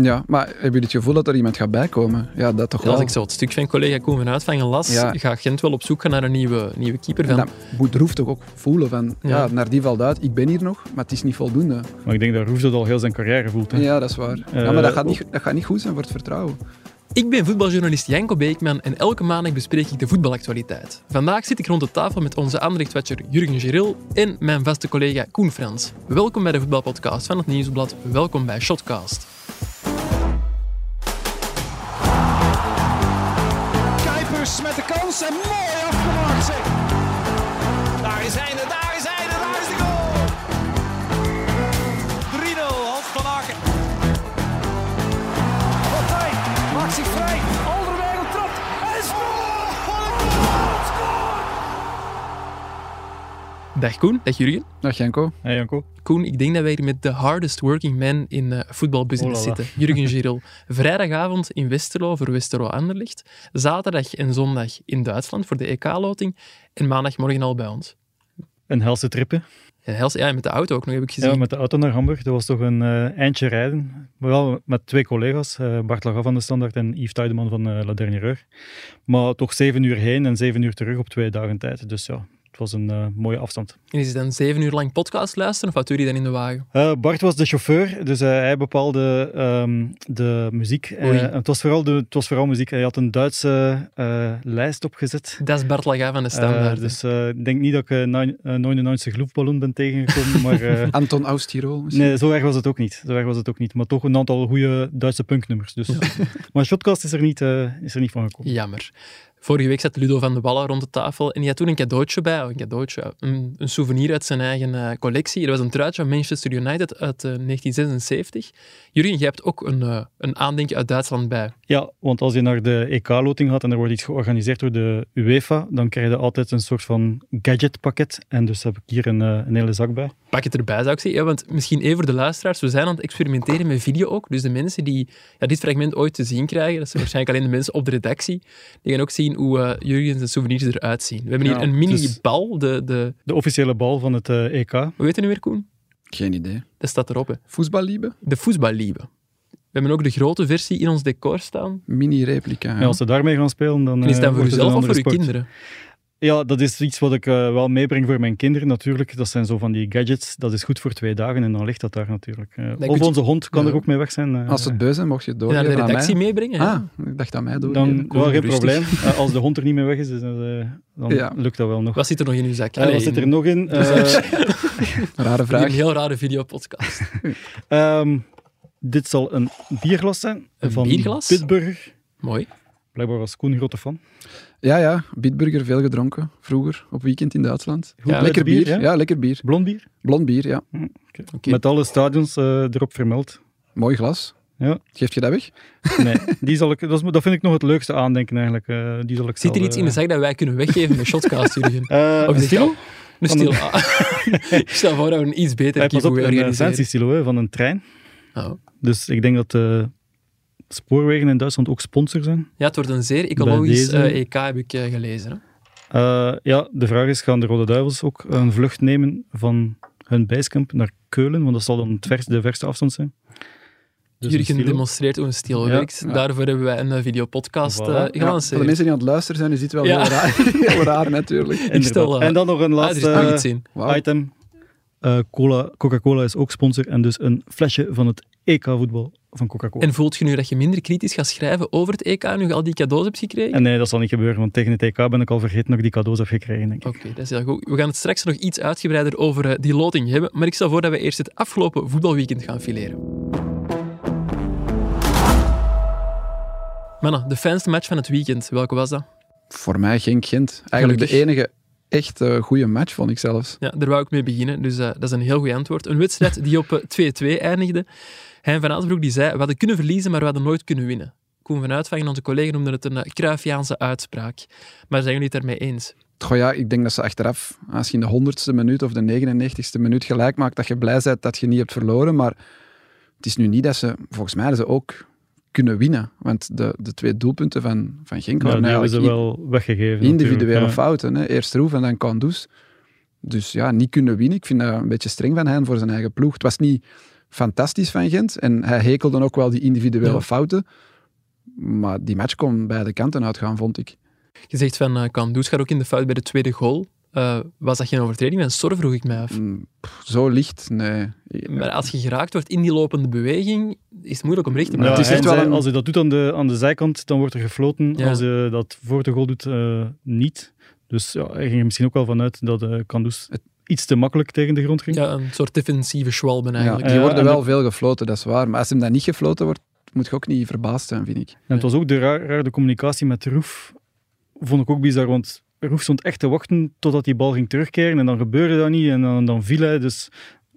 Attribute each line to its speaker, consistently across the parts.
Speaker 1: Ja, maar hebben jullie het gevoel dat er iemand gaat bijkomen? Ja, dat toch
Speaker 2: Ja,
Speaker 1: wel.
Speaker 2: als ik zo het stuk van collega Koen van Uitvangen las,
Speaker 1: Ja.
Speaker 2: gaat Gent wel op zoek gaan naar een nieuwe, nieuwe keeper.
Speaker 1: En
Speaker 2: Van.
Speaker 1: dat moet Roef toch ook voelen van, ja.
Speaker 2: Ja.
Speaker 1: naar die valt uit, ik ben hier nog, maar het is niet voldoende.
Speaker 3: Maar ik denk dat Roef dat al heel zijn carrière voelt. Hè.
Speaker 1: Ja, dat is waar. ja, maar
Speaker 3: Eh,
Speaker 1: dat gaat, niet, dat gaat niet goed zijn voor het vertrouwen.
Speaker 2: Ik ben voetbaljournalist Janko Beekman en elke maandag bespreek ik de voetbalactualiteit. Vandaag zit ik rond de tafel met onze Anderlecht-watcher Jurgen Geril en mijn vaste collega Koen Frans. Welkom bij de voetbalpodcast van het Nieuwsblad. Welkom bij Shotcast.
Speaker 4: Kuipers met de kans en mooi afgemaakt zeg. Daar is hij, daar is hij, daar is de goal. 3-0, Hans van Aken. Partij, maakt zich vrij. Alderweireld trapt en is scoort! Oh,
Speaker 2: Dag Koen, dag Jurgen.
Speaker 1: Dag Janko.
Speaker 3: Hey, Janko.
Speaker 2: Koen, ik denk dat wij hier met de hardest working man in eh, voetbalbusiness
Speaker 3: Oh la la.
Speaker 2: zitten. Jurgen Giril. Vrijdagavond in Westerlo voor Westerlo Anderlecht. Zaterdag en zondag in Duitsland voor de EK-loting. En maandagmorgen al bij ons.
Speaker 3: Een helse trip, hè.
Speaker 2: En Hels, ja, en met de auto ook nog heb ik gezien.
Speaker 3: Ja, met de auto naar Hamburg. Dat was toch een eh, eindje rijden. Maar wel met twee collega's, eh, Bart Laga van de Standaard en Yves Tuideman van eh La Dernière. Maar toch zeven uur heen en zeven uur terug op twee dagen tijd. Dus ja, het was een eh, mooie afstand.
Speaker 2: En is het dan zeven uur lang podcast luisteren of wat doe je dan in de wagen?
Speaker 3: Eh, Bart was de chauffeur, dus eh, hij bepaalde ehm, de muziek. Eh,
Speaker 2: Oei.
Speaker 3: en het, was vooral de, het was vooral muziek. Hij had een Duitse eh, lijst opgezet.
Speaker 2: Dat is Bart Laga van de
Speaker 3: Eh,
Speaker 2: Standaard.
Speaker 3: dus eh, ik denk niet dat ik eh, nine- eh, 99 Loopballon ben tegengekomen, maar eh,
Speaker 1: Anton Austiro. misschien?
Speaker 3: nee, zo erg was het ook niet. Zo erg was het ook niet. Maar toch een aantal goede Duitse punknummers. Dus. Maar Shotcast is er niet, eh, is er niet van gekomen.
Speaker 2: Jammer. Vorige week zat Ludo van de Wallen rond de tafel en die had toen een cadeautje bij. Een cadeautje, een, een souvenir uit zijn eigen eh, collectie. Er was een truitje van Manchester United uit eh, 1976. Jurgen, jij hebt ook een, eh, een aandenken uit Duitsland bij.
Speaker 3: Ja, want als je naar de EK-loting gaat en er wordt iets georganiseerd door de UEFA, dan krijg je altijd een soort van gadgetpakket. En dus heb ik hier een, eh, een hele zak bij.
Speaker 2: Pak het erbij, zou ik zeggen. Ja, want misschien even voor de luisteraars. We zijn aan het experimenteren met video ook. Dus de mensen die ja, dit fragment ooit te zien krijgen, dat zijn waarschijnlijk alleen de mensen op de redactie, die gaan ook zien hoe eh, Jurgen zijn souvenirs eruit zien. We hebben hier
Speaker 3: Ja,
Speaker 2: een mini
Speaker 3: dus-
Speaker 2: bal. De, de,
Speaker 3: De officiële bal van het eh, EK.
Speaker 2: hoe heet het nu weer, Koen?
Speaker 1: Geen idee.
Speaker 2: Dat staat erop, hè.
Speaker 1: Voetballiebe?
Speaker 2: de voetballiebe. We hebben ook de grote versie in ons decor staan.
Speaker 1: Mini-replica.
Speaker 3: En als ze daarmee gaan spelen, dan.
Speaker 2: En is
Speaker 3: eh,
Speaker 2: dat voor
Speaker 3: wordt het een
Speaker 2: jezelf of voor je
Speaker 3: andere sport. Oh,
Speaker 2: kinderen?
Speaker 3: Ja, dat is iets wat ik eh, wel meebreng voor mijn kinderen natuurlijk. Dat zijn zo van die gadgets. Dat is goed voor twee dagen en dan ligt dat daar natuurlijk. Eh,
Speaker 2: kun
Speaker 3: of
Speaker 2: je-
Speaker 3: onze hond kan
Speaker 2: Ja.
Speaker 3: er ook mee weg zijn. eh,
Speaker 1: Als ze het beu zijn, mocht je het
Speaker 2: En naar
Speaker 1: doorgeven
Speaker 2: de
Speaker 1: aan
Speaker 2: redactie
Speaker 1: mij.
Speaker 2: meebrengen? ja.
Speaker 1: Ah, ik dacht aan mij door.
Speaker 3: dan
Speaker 2: Kom,
Speaker 3: wel geen
Speaker 2: rustig.
Speaker 3: probleem. Eh, als de hond er niet mee weg is, dus, eh, dan
Speaker 1: Ja.
Speaker 3: lukt dat wel nog.
Speaker 2: Wat zit er nog in uw zak?
Speaker 3: Eh, wat zit er
Speaker 2: in-
Speaker 3: nog in? Eh,
Speaker 1: Rare
Speaker 2: in
Speaker 1: vraag.
Speaker 2: Een heel rare videopodcast.
Speaker 3: ehm, dit zal een bierglas zijn.
Speaker 2: Een
Speaker 3: van
Speaker 2: bierglas?
Speaker 3: Pitburger.
Speaker 2: Mooi.
Speaker 3: Blijkbaar was Koen grote fan.
Speaker 1: Ja, ja. Bitburger veel gedronken. Vroeger, op weekend in Duitsland.
Speaker 3: Goed
Speaker 2: Ja,
Speaker 1: lekker
Speaker 3: bier,
Speaker 1: bier.
Speaker 3: ja?
Speaker 1: Ja? lekker bier.
Speaker 3: Blond bier.
Speaker 1: Blond bier, ja.
Speaker 2: Oké.
Speaker 3: Met alle stadions eh, erop vermeld.
Speaker 1: Mooi glas.
Speaker 3: Ja.
Speaker 1: Geef je dat weg?
Speaker 3: Nee, die zal ik, dat, is- dat vind ik nog het leukste aandenken eigenlijk. eh, die zal ik
Speaker 2: Zit er
Speaker 3: wel,
Speaker 2: iets
Speaker 3: eh,
Speaker 2: in de zak dat wij kunnen weggeven met Shotcast, Jurgen?
Speaker 3: eh,
Speaker 2: Of is
Speaker 3: een
Speaker 2: het
Speaker 3: stilo?
Speaker 2: jou? Een
Speaker 3: Van
Speaker 2: stil. ah. ik stel voor dat we een iets beter
Speaker 3: Eh, pas
Speaker 2: kippen
Speaker 3: op, een eh,
Speaker 2: organiseren.
Speaker 3: fancy-stilo hè, van een trein.
Speaker 2: Oh.
Speaker 3: Dus ik denk dat eh, spoorwegen in Duitsland ook sponsor zijn.
Speaker 2: Ja, het wordt een zeer ecologisch
Speaker 3: Bij deze-
Speaker 2: eh, EK, heb ik eh, gelezen. Hè?
Speaker 3: Eh, ja, de vraag is, gaan de Rode Duivels ook een vlucht nemen van hun bijskamp naar Keulen? Want dat zal dan het vers, de verste afstand zijn. Dus een
Speaker 2: Jurgen
Speaker 3: stilo.
Speaker 2: demonstreert hoe een stil
Speaker 3: Ja.
Speaker 2: werkt. Daarvoor hebben wij een eh, videopodcast
Speaker 3: Voilà.
Speaker 2: eh,
Speaker 3: Ja,
Speaker 1: Ja, voor de
Speaker 2: gelanceerd.
Speaker 1: mensen die aan het luisteren zijn, is dit wel
Speaker 2: Ja.
Speaker 1: heel, raar, heel raar natuurlijk.
Speaker 3: Inderdaad.
Speaker 2: stel, eh,
Speaker 3: en dan nog een
Speaker 2: Ah, er is
Speaker 3: laatste
Speaker 2: nog iets in.
Speaker 1: Wauw.
Speaker 3: item. Eh, cola, Coca-Cola is ook sponsor en dus een flesje van het EK-voetbal van Coca-Cola.
Speaker 2: En voelt je nu dat je minder kritisch gaat schrijven over het EK nu je al die cadeaus hebt gekregen?
Speaker 3: En nee, dat zal niet gebeuren, want tegen het EK ben ik al vergeten dat ik die cadeaus heb gekregen, denk ik.
Speaker 2: Oké, dat is heel goed. We gaan het straks nog iets uitgebreider over eh, die loting hebben, maar ik stel voor dat we eerst het afgelopen voetbalweekend gaan fileren. Mannen, de fijnste match van het weekend, welke was dat?
Speaker 1: Voor mij Genk-Gent. Eigenlijk de
Speaker 2: Gelukkig.
Speaker 1: enige echt eh, goede match, vond ik zelfs.
Speaker 2: Ja, daar wou ik mee beginnen, dus eh, dat is een heel goed antwoord. Een wedstrijd die op eh, 2-2 eindigde. Hein van Aasbroek die zei, we hadden kunnen verliezen, maar we hadden nooit kunnen winnen. Koen van Uitvangen, onze collega, noemde het een eh, Cruyffiaanse uitspraak. Maar zijn jullie het daarmee eens?
Speaker 1: Goh ja, ik denk dat ze achteraf, als je in de honderdste minuut of de 99ste minuut gelijk maakt, dat je blij bent dat je niet hebt verloren. Maar het is nu niet dat ze, volgens mij, dat ze ook kunnen winnen. Want de, de twee doelpunten van, van Genk
Speaker 3: Ja,
Speaker 1: waren
Speaker 3: die hebben ze
Speaker 1: eigenlijk i-
Speaker 3: wel weggegeven.
Speaker 1: individuele
Speaker 3: natuurlijk, ja.
Speaker 1: fouten. Hè. Eerst Roef en dan Kandus. Dus ja, niet kunnen winnen. Ik vind dat een beetje streng van hen voor zijn eigen ploeg. Het was niet fantastisch van Gent. En hij hekelde ook wel die individuele
Speaker 2: Ja.
Speaker 1: fouten. Maar die match kon beide kanten uitgaan, vond ik.
Speaker 2: Je zegt van eh Kandus gaat ook in de fout bij de tweede goal. Eh, was dat geen overtreding van Sor, vroeg ik mij af.
Speaker 1: Mm, pff, Zo licht, nee.
Speaker 2: Maar als je geraakt wordt in die lopende beweging, is het moeilijk om recht te
Speaker 1: Maar
Speaker 3: Ja,
Speaker 2: maken.
Speaker 1: het is
Speaker 3: en
Speaker 1: echt wel
Speaker 3: zij-
Speaker 1: een-
Speaker 3: Als hij dat doet aan de, aan de zijkant, dan wordt er gefloten.
Speaker 2: Ja.
Speaker 3: Als hij dat voor de goal doet, eh, niet. Dus ja, hij ging er misschien ook wel vanuit dat eh Kandus iets te makkelijk tegen de grond ging.
Speaker 2: Ja, een soort defensieve schwalben
Speaker 1: Ja,
Speaker 2: eigenlijk.
Speaker 1: die
Speaker 3: Ja,
Speaker 1: worden
Speaker 3: en
Speaker 1: wel
Speaker 3: de-
Speaker 1: veel gefloten, dat is waar. Maar als hem dan niet gefloten wordt, moet je ook niet verbaasd zijn, vind ik.
Speaker 3: En het was ook de raar, raar de communicatie met Roef. Vond ik ook bizar, want Roef stond echt te wachten totdat die bal ging terugkeren. En dan gebeurde dat niet en dan, dan viel hij. Dus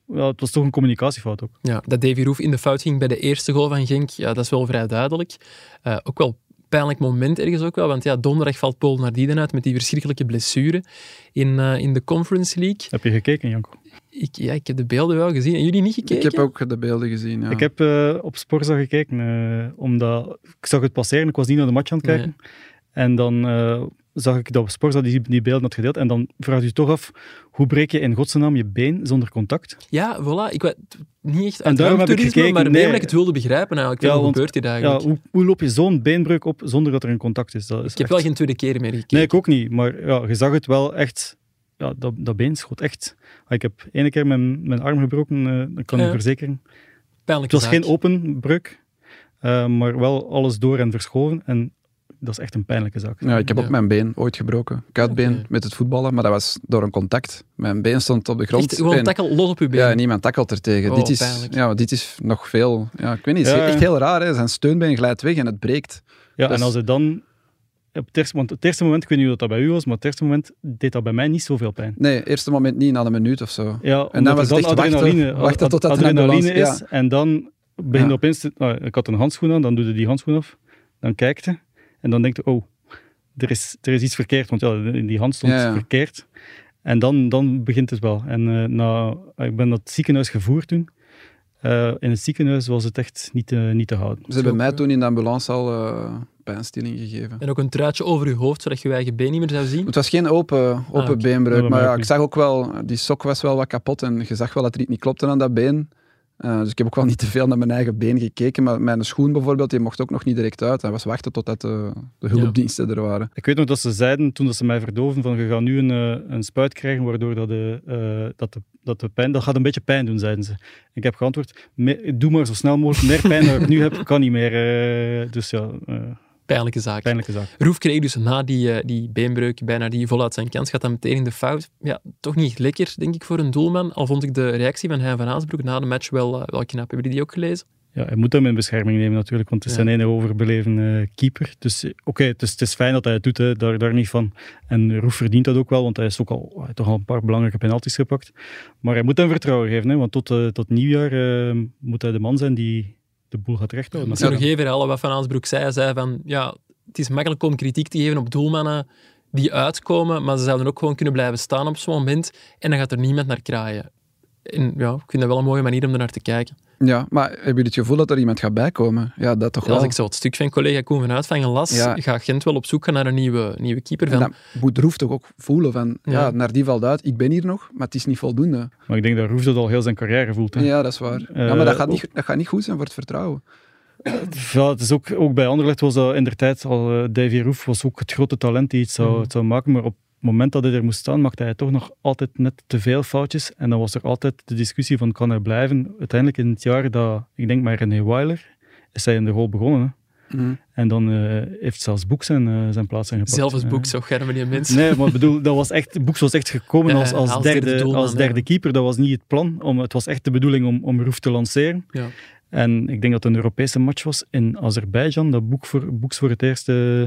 Speaker 3: ja, het was toch een communicatiefout ook.
Speaker 2: Ja, dat Davy Roof in de fout ging bij de eerste goal van Genk, ja, dat is wel vrij duidelijk. Eh, ook wel pijnlijk moment ergens ook wel, want ja, donderdag valt Paul Nardinen uit met die verschrikkelijke blessure in, eh, in de Conference League.
Speaker 3: Heb je gekeken, Janko?
Speaker 2: Ik, ja, ik heb de beelden wel gezien. En jullie niet gekeken?
Speaker 1: Ik heb ook de beelden gezien. Ja.
Speaker 3: Ik heb eh, op Sporza gekeken, eh, omdat ik zag het passeren. Ik was niet naar de match aan het kijken. En dan eh, zag ik dat Sporza die, die beelden had gedeeld. En dan vraag je je toch af, hoe breek je in godsnaam je been zonder contact?
Speaker 2: Ja, voilà. Ik weet niet echt
Speaker 3: En
Speaker 2: uit
Speaker 3: daarom heb ik
Speaker 2: ramptoerisme,
Speaker 3: gekeken,
Speaker 2: maar meer
Speaker 3: nee.
Speaker 2: omdat ik het wilde begrijpen eigenlijk.
Speaker 3: Ja,
Speaker 2: Ja, hoe
Speaker 3: want-
Speaker 2: gebeurt dit
Speaker 3: Ja,
Speaker 2: eigenlijk?
Speaker 3: hoe, hoe loop je zo'n beenbreuk op zonder dat er een contact is? Dat
Speaker 2: ik
Speaker 3: is
Speaker 2: heb
Speaker 3: echt-
Speaker 2: wel geen tweede keer meer gekeken.
Speaker 3: Nee, ik ook niet. Maar ja, je zag het wel echt. Ja, dat, dat been schoot echt. Ah, Ik heb ene keer mijn, mijn arm gebroken, eh, dat kan
Speaker 2: Ja.
Speaker 3: ik verzekeren. Het
Speaker 2: Pijnlijke
Speaker 3: was
Speaker 2: zaak.
Speaker 3: geen open breuk, eh, maar wel alles door en verschoven. En dat is echt een pijnlijke zaak.
Speaker 1: Ja, ik heb
Speaker 2: Ja.
Speaker 1: ook mijn been ooit gebroken. Kuitbeen
Speaker 2: Oké.
Speaker 1: met het voetballen, maar dat was door een contact. Mijn been stond op de grond.
Speaker 2: Echt, gewoon
Speaker 1: en-
Speaker 2: takkel los op je been.
Speaker 1: Ja, en niemand takkelt er tegen.
Speaker 2: Oh,
Speaker 1: dit, is,
Speaker 2: pijnlijk.
Speaker 1: ja, want dit is nog veel. Ja, ik weet niet, het is
Speaker 3: Ja, ja.
Speaker 1: echt heel raar. Hè. Zijn steunbeen glijdt weg en het breekt.
Speaker 3: Ja,
Speaker 1: Dat
Speaker 3: en
Speaker 1: is-
Speaker 3: als het dan. Op het eerste, want het eerste moment, ik weet niet hoe dat bij u was, maar het eerste moment deed dat bij mij niet zoveel pijn.
Speaker 1: Nee, eerste moment niet, na een minuut of zo.
Speaker 3: Ja,
Speaker 1: En dan
Speaker 3: omdat
Speaker 1: was
Speaker 3: er
Speaker 1: het echt wachten,
Speaker 3: adrenaline,
Speaker 1: wachten tot dat er een
Speaker 3: adrenaline
Speaker 1: ambulance-
Speaker 3: is. En dan begin je
Speaker 1: Ja.
Speaker 3: op instant... nou, ik had een handschoen aan, dan doe je die handschoen af. Dan kijkt je en dan denkt je, oh, er is, er is iets verkeerd. Want ja, in die hand stond
Speaker 1: Ja, ja.
Speaker 3: verkeerd. En dan, dan begint het wel. En eh, na, ik ben naar het ziekenhuis gevoerd toen. Eh, in het ziekenhuis was het echt niet, te- niet te houden.
Speaker 1: Ze hebben
Speaker 2: Zo,
Speaker 1: mij
Speaker 2: ja.
Speaker 1: toen in de ambulance al eh, pijnstilling gegeven.
Speaker 2: En ook een truitje over je hoofd, zodat je je eigen been niet meer zou zien.
Speaker 1: Het was geen open, open
Speaker 2: Ah, oké.
Speaker 1: beenbreuk,
Speaker 3: Ja,
Speaker 1: maar
Speaker 3: dat
Speaker 1: ja,
Speaker 3: merk
Speaker 1: ik
Speaker 3: ik.
Speaker 1: zag ook wel, die sok was wel wat kapot en je zag wel dat er iets niet klopte aan dat been. Eh, dus ik heb ook wel niet te veel naar mijn eigen been gekeken, maar mijn schoen bijvoorbeeld, die mocht ook nog niet direct uit. Hij was wachten totdat de, de hulpdiensten er waren.
Speaker 3: Ik weet nog dat ze zeiden toen dat ze mij verdoven van je gaat nu een, eh, een spuit krijgen waardoor dat de, eh, dat, de, dat de pijn, dat gaat een beetje pijn doen, zeiden ze. Ik heb geantwoord, "Me- doe maar zo snel mogelijk, meer pijn dan ik nu heb, kan niet meer. eh, dus ja, eh,
Speaker 2: Pijnlijke zaak.
Speaker 3: pijnlijke zaak.
Speaker 2: Roef kreeg dus na die, eh, die beenbreuk, bijna die voluit zijn kans, gaat dan meteen in de fout. Ja, toch niet echt lekker, denk ik, voor een doelman. Al vond ik de reactie van Hein van Aasbroek na de match wel, eh, wel knap. Hebben jullie die ook gelezen?
Speaker 3: Ja, hij moet hem in bescherming nemen natuurlijk, want het is
Speaker 2: Ja.
Speaker 3: zijn ene overbeleven eh, keeper. Dus eh, oké, het, is, het is fijn dat hij het doet, hè, daar, daar niet van. En Roef verdient dat ook wel, want hij is ook al, hij heeft toch al een paar belangrijke penalties gepakt. Maar hij moet hem vertrouwen geven, hè, want tot, eh, tot nieuwjaar eh, moet hij de man zijn die de boel gaat recht houden.
Speaker 2: Dat
Speaker 1: Nou,
Speaker 2: is nog even herhalen wat Van Aasbroek zei. Hij zei van, ja, het is makkelijk om kritiek te geven op doelmannen die uitkomen, maar ze zouden ook gewoon kunnen blijven staan op zo'n moment en dan gaat er niemand naar kraaien. En ja, ik vind dat wel een mooie manier om er naar te kijken.
Speaker 1: Ja, maar hebben jullie het gevoel dat er iemand gaat bijkomen? Ja, dat toch
Speaker 2: Ja, Als
Speaker 1: wel.
Speaker 2: ik zo het stuk van collega Koen van Uitvangen las,
Speaker 1: Ja. Nou,
Speaker 2: gaat Gent wel op zoek gaan naar een nieuwe, nieuwe keeper.
Speaker 1: En
Speaker 2: Van,
Speaker 1: dat moet Roef toch ook voelen van, ja.
Speaker 2: Ja.
Speaker 1: naar die valt uit, ik ben hier nog, maar het is niet voldoende.
Speaker 3: Maar ik denk dat Roef dat al heel zijn carrière voelt. Hè. Ja.
Speaker 1: Ja, dat is waar. ja, maar dat
Speaker 3: Eh,
Speaker 1: gaat, niet, dat gaat niet goed zijn voor het vertrouwen.
Speaker 3: het is ook, ook bij Anderlecht was dat in der tijd al... eh, Davy Roef was ook het grote talent die iets zou,
Speaker 2: Mhm.
Speaker 3: het zou maken, maar op het moment dat hij er moest staan, maakte hij toch nog altijd net te veel foutjes. En dan was er altijd de discussie van, kan hij blijven? Uiteindelijk in het jaar dat, ik denk maar René Weiler, is hij in de goal begonnen. hè.
Speaker 2: Mhm.
Speaker 3: En dan eh, heeft zelfs Boeks zijn, eh, zijn plaats aangepakt.
Speaker 2: zelfs als
Speaker 3: Eh,
Speaker 2: boek, zo germen die mensen.
Speaker 3: Nee, maar ik bedoel, dat was echt, Boeks was echt gekomen
Speaker 2: Ja,
Speaker 3: als, als,
Speaker 2: als
Speaker 3: derde,
Speaker 2: derde doelman,
Speaker 3: als derde
Speaker 2: ja.
Speaker 3: keeper. Dat was niet het plan. Om, het was echt de bedoeling om, om Roef te lanceren.
Speaker 2: Ja.
Speaker 3: En ik denk dat het een Europese match was in Azerbeidzjan, dat Boek voor, Boeks voor het eerst eh,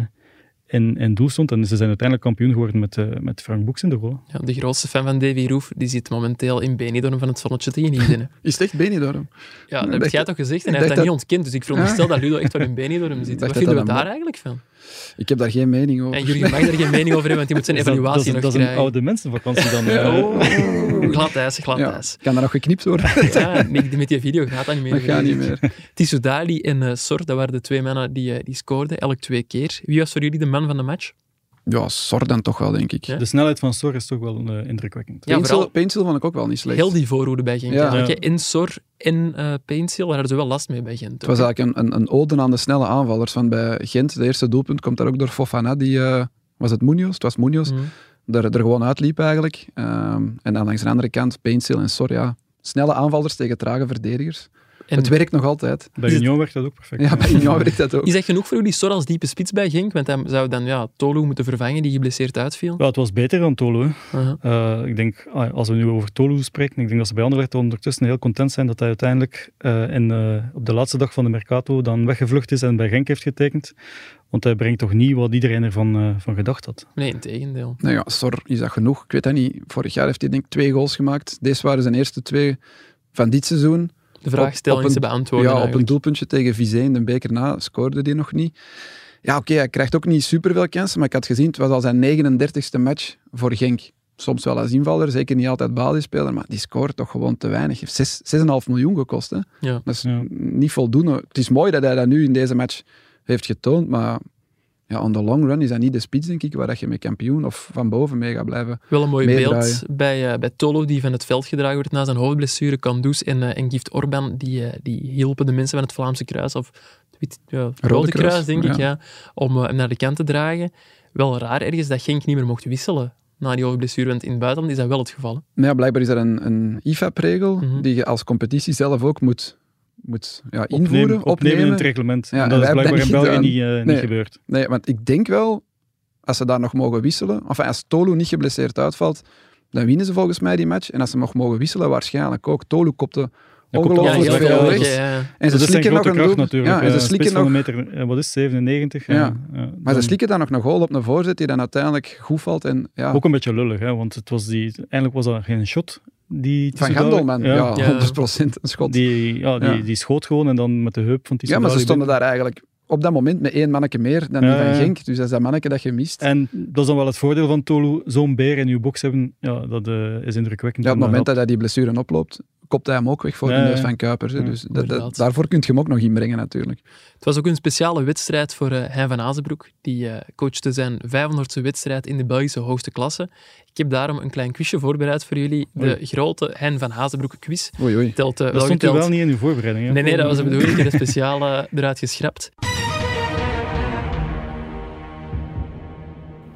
Speaker 3: in, in doel stond. En ze zijn uiteindelijk kampioen geworden met, eh, met Frank Boeks in de goal.
Speaker 2: Ja, de grootste fan van Davy Roof, die zit momenteel in Benidorm van het zonnetje te genieten. hè.
Speaker 1: Is het echt Benidorm?
Speaker 2: Ja,
Speaker 1: Nee,
Speaker 2: dat heb
Speaker 1: dat-
Speaker 2: jij toch gezegd en
Speaker 1: ik
Speaker 2: hij heeft dat,
Speaker 1: dacht
Speaker 2: niet ontkend. Dus ik veronderstel dat Ludo echt wel in Benidorm zit.
Speaker 1: dacht
Speaker 2: Wat
Speaker 1: dat
Speaker 2: vinden we
Speaker 1: dat
Speaker 2: daar
Speaker 1: een-
Speaker 2: eigenlijk van?
Speaker 1: Ik heb daar geen mening over.
Speaker 2: En Jurgen mag daar geen mening over hebben, want die moet zijn
Speaker 3: Dus dat- dat, is-
Speaker 2: evaluatie
Speaker 3: dat,
Speaker 2: nog
Speaker 3: is een
Speaker 2: krijgen.
Speaker 3: oude mensenvakantie dan. eh.
Speaker 2: Oh, glad ijs, glad
Speaker 1: Ja,
Speaker 2: ijs.
Speaker 1: kan dat nog geknipt worden?
Speaker 2: Ja, Nick, met die video gaat dat niet meer.
Speaker 1: dat gaat niet
Speaker 2: Frederik.
Speaker 1: meer.
Speaker 2: Tissou Dali en eh Sor, dat waren de twee mannen die, eh, die scoorden, elk twee keer. Wie was voor jullie de man van de match?
Speaker 1: Ja, Sor dan toch wel, denk ik.
Speaker 2: Ja.
Speaker 1: Ja.
Speaker 3: De snelheid van Sor is toch wel eh, indrukwekkend.
Speaker 2: Ja, vooral
Speaker 1: vond ik ook wel niet slecht.
Speaker 2: heel die voorhoede bij Gent.
Speaker 1: Ja.
Speaker 2: eigenlijk,
Speaker 3: Ja.
Speaker 2: hè. In Sor, in eh Painsil, daar hadden ze wel last mee bij Gent.
Speaker 1: Het was eigenlijk een, een, een ode aan de snelle aanvallers. Van bij Gent, de eerste doelpunt, komt daar ook door Fofana. Die, eh, was het Munoz? Het was Munoz.
Speaker 2: Mhm.
Speaker 1: Er, er gewoon uitliep eigenlijk. Ehm, en dan langs de andere kant Painsil en Sor. Ja. Snelle aanvallers tegen trage verdedigers.
Speaker 2: En
Speaker 1: Het werkt nog altijd.
Speaker 3: Bij
Speaker 2: Is het-
Speaker 3: Union werkt dat ook perfect.
Speaker 1: Ja, bij Union werkt dat ook.
Speaker 2: is dat genoeg voor jullie, Sor als diepe spits bij Genk? Want hij zou dan ja, Tolu moeten vervangen, die geblesseerd uitviel.
Speaker 3: Ja, het was beter dan Tolo. hè.
Speaker 2: Aha.
Speaker 3: Eh, ik denk, ah, als we nu over Tolu spreken, ik denk dat ze bij Anderlecht ondertussen heel content zijn dat hij uiteindelijk eh, in, eh, op de laatste dag van de Mercato dan weggevlucht is en bij Genk heeft getekend. Want hij brengt toch niet wat iedereen ervan eh, van gedacht had.
Speaker 2: Nee, in tegendeel.
Speaker 1: Nou ja, Sor is dat genoeg. Ik weet dat niet. Vorig jaar heeft hij denk ik twee goals gemaakt. Deze waren zijn eerste twee van dit seizoen.
Speaker 2: De vraag
Speaker 1: Op-
Speaker 2: stellen
Speaker 1: op
Speaker 2: en ze
Speaker 1: een-
Speaker 2: beantwoorden.
Speaker 1: ja, op een
Speaker 2: eigenlijk.
Speaker 1: doelpuntje tegen Vizé in de beker na scoorde hij nog niet. Ja, oké, hij krijgt ook niet superveel kansen, maar ik had gezien, het was al zijn 39ste match voor Genk. Soms wel als invaller, zeker niet altijd basisspeler, maar die scoort toch gewoon te weinig. Heeft zes- 6,5 miljoen gekost, hè.
Speaker 2: Ja.
Speaker 1: Dat is
Speaker 3: Ja.
Speaker 1: niet voldoende. Het is mooi dat hij dat nu in deze match heeft getoond, maar ja, on the long run is dat niet de spits, denk ik, waar dat je mee kampioen of van boven mee gaat blijven.
Speaker 2: Wel een mooi beeld
Speaker 1: meedraaien.
Speaker 2: bij, eh, bij Tolo, die van het veld gedragen wordt na zijn hoofdblessure. Kandus en, eh, en Gift Orban, die, eh, die hielpen de mensen van het Vlaamse Kruis, of het Wit- ja, het Rode, Kruis,
Speaker 1: Kruis,
Speaker 2: denk ik,
Speaker 1: ja.
Speaker 2: ja, om eh, hem naar de kant te dragen. Wel raar ergens dat Genk niet meer mocht wisselen na die hoofdblessure, want in het buitenland is dat wel het geval. hè.
Speaker 1: Nou ja, blijkbaar is er een, een IFAB-regel
Speaker 2: Mhm.
Speaker 1: die je als competitie zelf ook moet, moet ja, invoeren,
Speaker 3: Opnemen, opnemen, in het
Speaker 1: opnemen.
Speaker 3: reglement.
Speaker 1: Ja, en wij
Speaker 3: dat is
Speaker 1: hebben dat
Speaker 3: blijkbaar in
Speaker 1: niet
Speaker 3: België
Speaker 1: gedaan.
Speaker 3: niet, eh, niet
Speaker 1: Nee.
Speaker 3: gebeurd.
Speaker 1: Nee, want ik denk wel, als ze daar nog mogen wisselen, of enfin, als Tolu niet geblesseerd uitvalt, dan winnen ze volgens mij die match. En als ze nog mogen wisselen, waarschijnlijk ook. Tolu kopte
Speaker 3: Ja, kopte
Speaker 2: Ja,
Speaker 3: Tolo
Speaker 1: ongelooflijk
Speaker 3: alles
Speaker 2: heel
Speaker 3: weg,
Speaker 1: veel
Speaker 2: veel.
Speaker 3: ja,
Speaker 1: weg.
Speaker 3: dus-
Speaker 2: ja, ja.
Speaker 1: En ze
Speaker 3: dat is zijn
Speaker 1: slikken nog
Speaker 3: grote
Speaker 1: een
Speaker 3: kracht
Speaker 1: doel.
Speaker 3: natuurlijk.
Speaker 1: Ja, en
Speaker 3: eh,
Speaker 1: ze
Speaker 3: een spits
Speaker 1: slikken
Speaker 3: van
Speaker 1: nog...
Speaker 3: een meter, eh, wat is het, 97? Ja.
Speaker 1: Ja.
Speaker 3: eh,
Speaker 1: Maar ze
Speaker 3: dan-
Speaker 1: slikken dan nog een goal op een voorzet die dan uiteindelijk goed valt. En, ja,
Speaker 3: Ook een beetje lullig, hè, want het was die, eindelijk was dat geen shot. Die
Speaker 1: van
Speaker 3: Tissoudali-
Speaker 1: Gandelman, ja,
Speaker 2: Ja.
Speaker 1: 100% een schot.
Speaker 3: Die, ja, die,
Speaker 1: Ja.
Speaker 3: die schoot gewoon en dan met de heup van die
Speaker 1: ja, maar ze stonden daar eigenlijk op dat moment met één manneke meer dan die
Speaker 3: Ja, ja.
Speaker 1: van Genk. Dus dat is dat manneke dat je mist.
Speaker 3: En dat is dan wel het voordeel van Tolu. Zo'n beer in uw box hebben, ja, dat eh, is indrukwekkend.
Speaker 1: Ja, op het
Speaker 3: om
Speaker 1: moment dat
Speaker 3: dat-
Speaker 1: hij die blessure oploopt, kopt hij hem ook weg voor
Speaker 3: Ja,
Speaker 1: de neus
Speaker 3: ja.
Speaker 1: van Kuipers. hè.
Speaker 3: Ja,
Speaker 1: dus dat- dat-
Speaker 2: inderdaad.
Speaker 1: daarvoor kun je hem ook nog inbrengen natuurlijk.
Speaker 2: Het was ook een speciale wedstrijd voor eh Hein van Azenbroek. Die eh, coachte zijn 500ste wedstrijd in de Belgische hoogste klasse. Ik heb daarom een klein quizje voorbereid voor jullie. De grote Hein van Azenbroek quiz.
Speaker 1: Oei, oei.
Speaker 2: Telt, eh,
Speaker 3: Dat
Speaker 2: wel
Speaker 3: stond u
Speaker 2: geteld.
Speaker 3: wel niet in uw voorbereiding. hè?
Speaker 2: Nee, nee, dat was de bedoeling. Ik heb het speciaal eh, eruit geschrapt.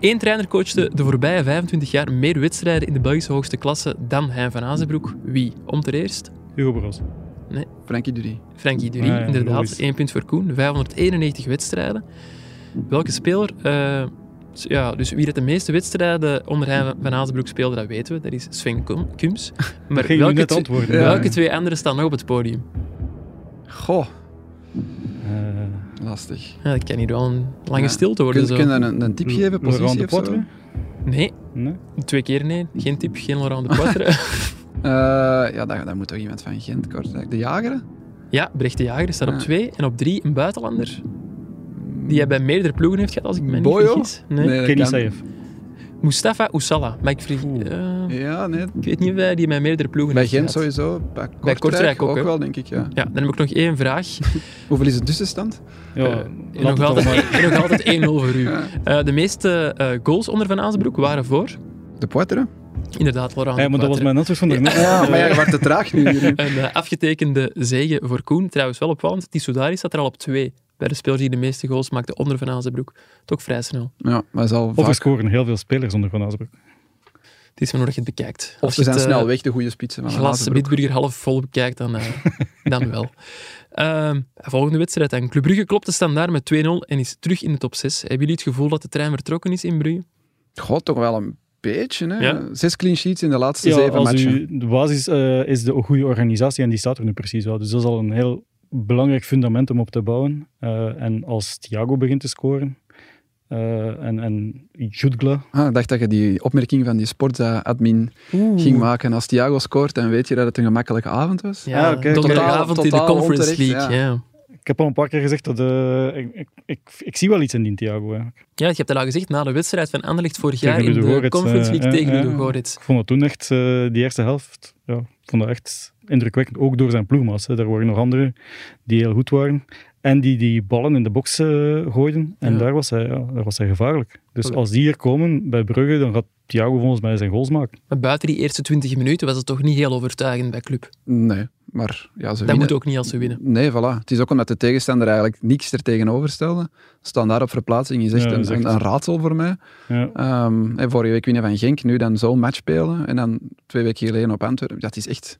Speaker 2: Eén trainer coachte de voorbije 25 jaar meer wedstrijden in de Belgische hoogste klasse dan Hein van Azenbroek. Wie? Om ter eerst
Speaker 3: Hugo Bros.
Speaker 1: Frankie Durie.
Speaker 2: Frankie Durie,
Speaker 3: Ah Ja, ja,
Speaker 2: inderdaad.
Speaker 3: logisch.
Speaker 2: Eén punt voor Koen. 591 wedstrijden. Welke speler... eh, s- ja, dus wie dat de meeste wedstrijden onder Hein van Azenbroek speelde, dat weten we. Dat is Sven Kum- Kums. Maar
Speaker 3: Ging u
Speaker 2: welke,
Speaker 3: net
Speaker 2: tw-
Speaker 3: antwoorden?
Speaker 1: Ja.
Speaker 2: welke twee anderen staan nog op het podium?
Speaker 1: Goh,
Speaker 3: Eh,
Speaker 1: lastig.
Speaker 2: Ja, dat kan hier wel een lange
Speaker 1: Ja.
Speaker 2: stilte worden.
Speaker 1: Kun,
Speaker 2: zo.
Speaker 1: kun je een, een tip geven,
Speaker 3: Laurent
Speaker 1: positie
Speaker 3: de
Speaker 1: of zo?
Speaker 3: Poitre?
Speaker 2: Nee,
Speaker 3: Nee?
Speaker 2: twee keer nee. Geen tip, geen Laurent de Poitre.
Speaker 1: Eh, ja, daar, daar moet toch iemand van Gent kort. De jager?
Speaker 2: ja, Brecht de Jager staat op
Speaker 1: Ja.
Speaker 2: twee. En op drie een buitenlander. Die hij bij meerdere ploegen heeft gehad, als ik me niet
Speaker 1: Boyo?
Speaker 2: vergis. Nee.
Speaker 1: dat
Speaker 3: Kenny
Speaker 1: kan-
Speaker 3: Saïf.
Speaker 2: Mustafa Oussala. Maar ik, verg-
Speaker 3: Oeh.
Speaker 2: eh,
Speaker 1: Ja, nee.
Speaker 2: ik weet niet of hij die bij meerdere ploegen
Speaker 1: Bij
Speaker 2: heeft
Speaker 1: Gent
Speaker 2: gehad.
Speaker 1: sowieso. Bij Kortrijk,
Speaker 2: Kortrijk ook,
Speaker 1: ook,
Speaker 2: hè?
Speaker 1: wel, denk ik. Ja.
Speaker 2: Ja, dan heb ik nog één vraag.
Speaker 1: Hoeveel is de tussenstand?
Speaker 3: Ja,
Speaker 2: Eh,
Speaker 3: laat
Speaker 2: En
Speaker 3: het
Speaker 2: nog
Speaker 3: dan
Speaker 2: altijd,
Speaker 3: maar.
Speaker 2: en nog altijd 1-0 voor u.
Speaker 1: Ja.
Speaker 2: Eh, de meeste eh, goals onder Van Azenbroek waren voor,
Speaker 1: De Poitre?
Speaker 2: inderdaad, Laurent
Speaker 3: Ja,
Speaker 2: de
Speaker 3: maar dat was
Speaker 2: Poitre.
Speaker 3: mijn antwoord van daarnet.
Speaker 1: Ja, maar jij wordt te traag nu. Jeroen.
Speaker 2: Een eh, afgetekende zege voor Koen. Trouwens wel opvallend, Tissoudari staat er al op twee. Bij de speler die de meeste goals maakte onder Van Azenbroek. Toch vrij snel.
Speaker 1: Ja, maar zal
Speaker 3: Of er
Speaker 1: vaak...
Speaker 3: scoren heel veel spelers onder Van Azenbroek.
Speaker 2: Het is maar nodig dat je het bekijkt.
Speaker 1: Of
Speaker 2: Als
Speaker 1: ze
Speaker 2: je
Speaker 1: zijn
Speaker 2: het, eh,
Speaker 1: snel weg, de goede spitsen van de
Speaker 2: glas
Speaker 1: Azenbroek.
Speaker 2: Bitburger half vol bekijkt, dan, eh, dan wel. Ehm, volgende wedstrijd dan. Club Brugge klopt de standaard met 2-0 en is terug in de top 6. Hebben jullie het gevoel dat de trein vertrokken is in Brugge?
Speaker 1: God, toch wel een beetje. Hè?
Speaker 2: Ja.
Speaker 1: Zes clean sheets in de laatste
Speaker 3: Ja,
Speaker 1: zeven
Speaker 3: als
Speaker 1: matchen.
Speaker 3: u, de basis eh, is de goede organisatie en die staat er nu precies wel. Dus dat is al een heel belangrijk fundament om op te bouwen. Eh, en als Thiago begint te scoren eh, en, en Jutgla,
Speaker 1: Ah, ik dacht dat je die opmerking van die sportadmin ging maken. Als Thiago scoort, dan weet je dat het een gemakkelijke avond was.
Speaker 2: Ja,
Speaker 3: Ah, oké.
Speaker 2: donderdagavond
Speaker 1: Totaal-
Speaker 2: in de
Speaker 1: totaal
Speaker 2: Conference
Speaker 1: onterecht,
Speaker 2: League. Ja.
Speaker 1: ja.
Speaker 3: ik heb al een paar keer gezegd dat eh, ik, ik, ik, ik zie wel iets in die Thiago. Hè.
Speaker 2: Ja, je hebt dat al gezegd na de wedstrijd van Anderlecht vorig
Speaker 3: Tegen
Speaker 2: jaar in
Speaker 3: Ludo
Speaker 2: de
Speaker 3: Goretz,
Speaker 2: Conference
Speaker 3: eh,
Speaker 2: League
Speaker 3: eh,
Speaker 2: tegen
Speaker 3: eh.
Speaker 2: Ludo Goretz.
Speaker 3: Ik vond dat toen echt, eh, die eerste helft, ja, ik vond dat echt indrukwekkend. Ook door zijn ploegmaats. Hè. Er waren nog anderen die heel goed waren. En die die ballen in de box eh, gooiden. En
Speaker 2: Ja.
Speaker 3: daar, was hij, ja, daar was hij gevaarlijk. Dus als die hier komen bij Brugge, dan gaat Thiago volgens mij zijn goals maken.
Speaker 2: Maar buiten die eerste 20 minuten was het toch niet heel overtuigend bij Club.
Speaker 1: Nee, maar ja, ze
Speaker 2: Dat
Speaker 1: winnen.
Speaker 2: moet ook niet als ze winnen.
Speaker 1: Nee, voilà. Het is ook omdat de tegenstander eigenlijk niks er tegenover stelde. Standaard op verplaatsing is echt,
Speaker 3: Ja, dat is
Speaker 1: een,
Speaker 3: echt-
Speaker 1: een raadsel voor mij.
Speaker 3: Ja.
Speaker 1: Ehm, hè, vorige week winnen van Genk, nu dan zo'n match spelen. En dan twee weken geleden op Antwerpen. Dat is echt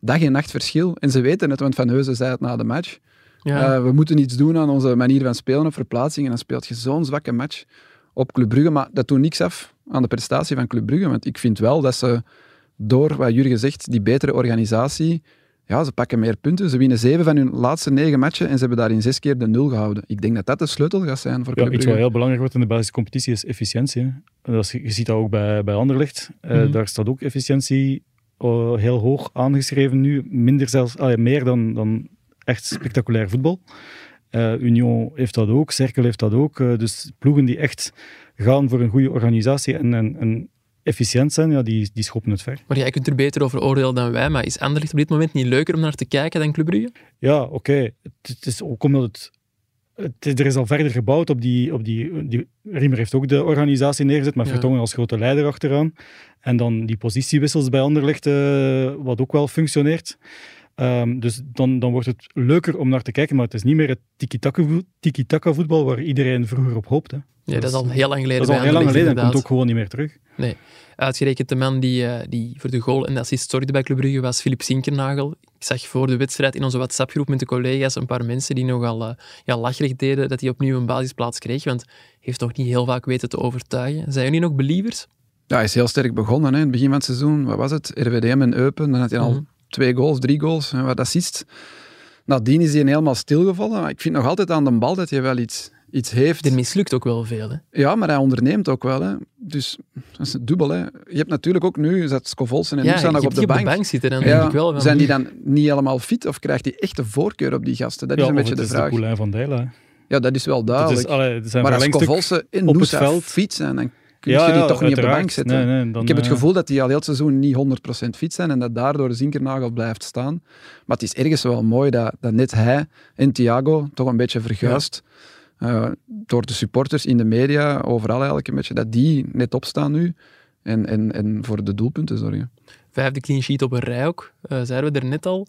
Speaker 1: dag en nacht verschil. En ze weten het, want Van Heuzen zei het na de match.
Speaker 2: Ja.
Speaker 1: Eh, we moeten iets doen aan onze manier van spelen op verplaatsing. En dan speelt je zo'n zwakke match op Club Brugge. Maar dat doet niks af aan de prestatie van Club Brugge. Want ik vind wel dat ze door, wat Jurgen zegt, die betere organisatie... Ja, ze pakken meer punten. Ze winnen zeven van hun laatste negen matchen en ze hebben daarin zes keer de nul gehouden. Ik denk dat dat de sleutel gaat zijn voor
Speaker 3: Ja,
Speaker 1: Club
Speaker 3: iets wat
Speaker 1: Brugge.
Speaker 3: heel belangrijk wordt in de Belgische competitie is efficiëntie. hè. En Dat is, je ziet dat ook bij, bij Anderlecht. Eh,
Speaker 2: Mhm.
Speaker 3: Daar staat ook efficiëntie eh, heel hoog aangeschreven nu. Minder zelfs, allee, meer dan, dan echt spectaculair voetbal. Eh, Union heeft dat ook, Cerkel heeft dat ook. Eh, dus ploegen die echt gaan voor een goede organisatie en, en, en efficiënt zijn, ja, die, die schoppen het ver.
Speaker 2: Maar jij kunt er beter over oordelen dan wij. Maar is Anderlecht op dit moment niet leuker om naar te kijken dan Club Brugge?
Speaker 3: Ja, oké. Het, het is ook omdat het, het is- Er is al verder gebouwd op die, op die, die... Riemer heeft ook de organisatie neergezet, met
Speaker 2: Ja.
Speaker 3: Vertongen als grote leider achteraan. En dan die positiewissels bij Anderlecht, eh, wat ook wel functioneert. Ehm, dus dan, dan wordt het leuker om naar te kijken, maar het is niet meer het tiki-taka voet- tiki-taka voetbal waar iedereen vroeger op hoopte.
Speaker 2: Nee, dat is
Speaker 3: Dat
Speaker 2: al heel lang geleden.
Speaker 3: Dat is al
Speaker 2: bij
Speaker 3: heel lang
Speaker 2: Anderlecht,
Speaker 3: geleden en komt
Speaker 2: inderdaad.
Speaker 3: ook gewoon niet meer terug.
Speaker 2: Uitgerekend de man die, eh, die voor de goal en de assist zorgde bij Club Brugge was Filip Sinkernagel. Ik zag voor de wedstrijd in onze WhatsApp-groep met de collega's een paar mensen die nogal eh, ja, lacherig deden dat hij opnieuw een basisplaats kreeg, want hij heeft toch niet heel vaak weten te overtuigen. Zijn jullie nog believers?
Speaker 1: Ja, hij is heel sterk begonnen hè, in het begin van het seizoen. Wat was het? RWDM en Eupen. Dan had hij al
Speaker 2: Mhm.
Speaker 1: twee goals, drie goals en wat assist. Nadien is hij helemaal stilgevallen. Maar ik vind nog altijd aan de bal dat hij wel iets, iets heeft.
Speaker 2: Er mislukt ook wel veel. Hè?
Speaker 1: Ja, maar hij onderneemt ook wel. Hè. Dus dat is dubbel. Hè. Je hebt natuurlijk ook nu, zat Scovolsen en
Speaker 2: ja,
Speaker 1: nu staan
Speaker 2: je
Speaker 1: nog op
Speaker 2: hebt
Speaker 1: de
Speaker 2: die
Speaker 1: bank.
Speaker 2: op de bank zitten, dan
Speaker 1: Ja,
Speaker 2: denk ik wel. van-
Speaker 1: Zijn die dan niet helemaal fit of krijgt hij echt de voorkeur op die gasten? Dat is
Speaker 3: Ja,
Speaker 1: een
Speaker 3: of
Speaker 1: beetje de
Speaker 3: het is
Speaker 1: vraag.
Speaker 3: de Poulain van Dijla. hè.
Speaker 1: ja, dat is wel
Speaker 3: Dat
Speaker 1: duidelijk.
Speaker 3: is, allee, het zijn
Speaker 1: maar als
Speaker 3: verlengstuk-
Speaker 1: Scovolsen en
Speaker 3: op het
Speaker 1: Noosa
Speaker 3: veld.
Speaker 1: fit zijn, dan kun je die toch niet op de
Speaker 3: uiteraard.
Speaker 1: bank zetten.
Speaker 3: Nee, nee, dan,
Speaker 1: Ik heb het
Speaker 3: eh,
Speaker 1: gevoel dat die al heel het seizoen niet 100% fit zijn en dat daardoor Zinkernagel blijft staan. Maar het is ergens wel mooi dat, dat net hij en Thiago toch een beetje verguist eh, door de supporters in de media, overal eigenlijk een beetje, dat die net opstaan nu en, en, en voor de doelpunten zorgen.
Speaker 2: vijfde clean sheet op een rij ook, eh, zeiden we er net al.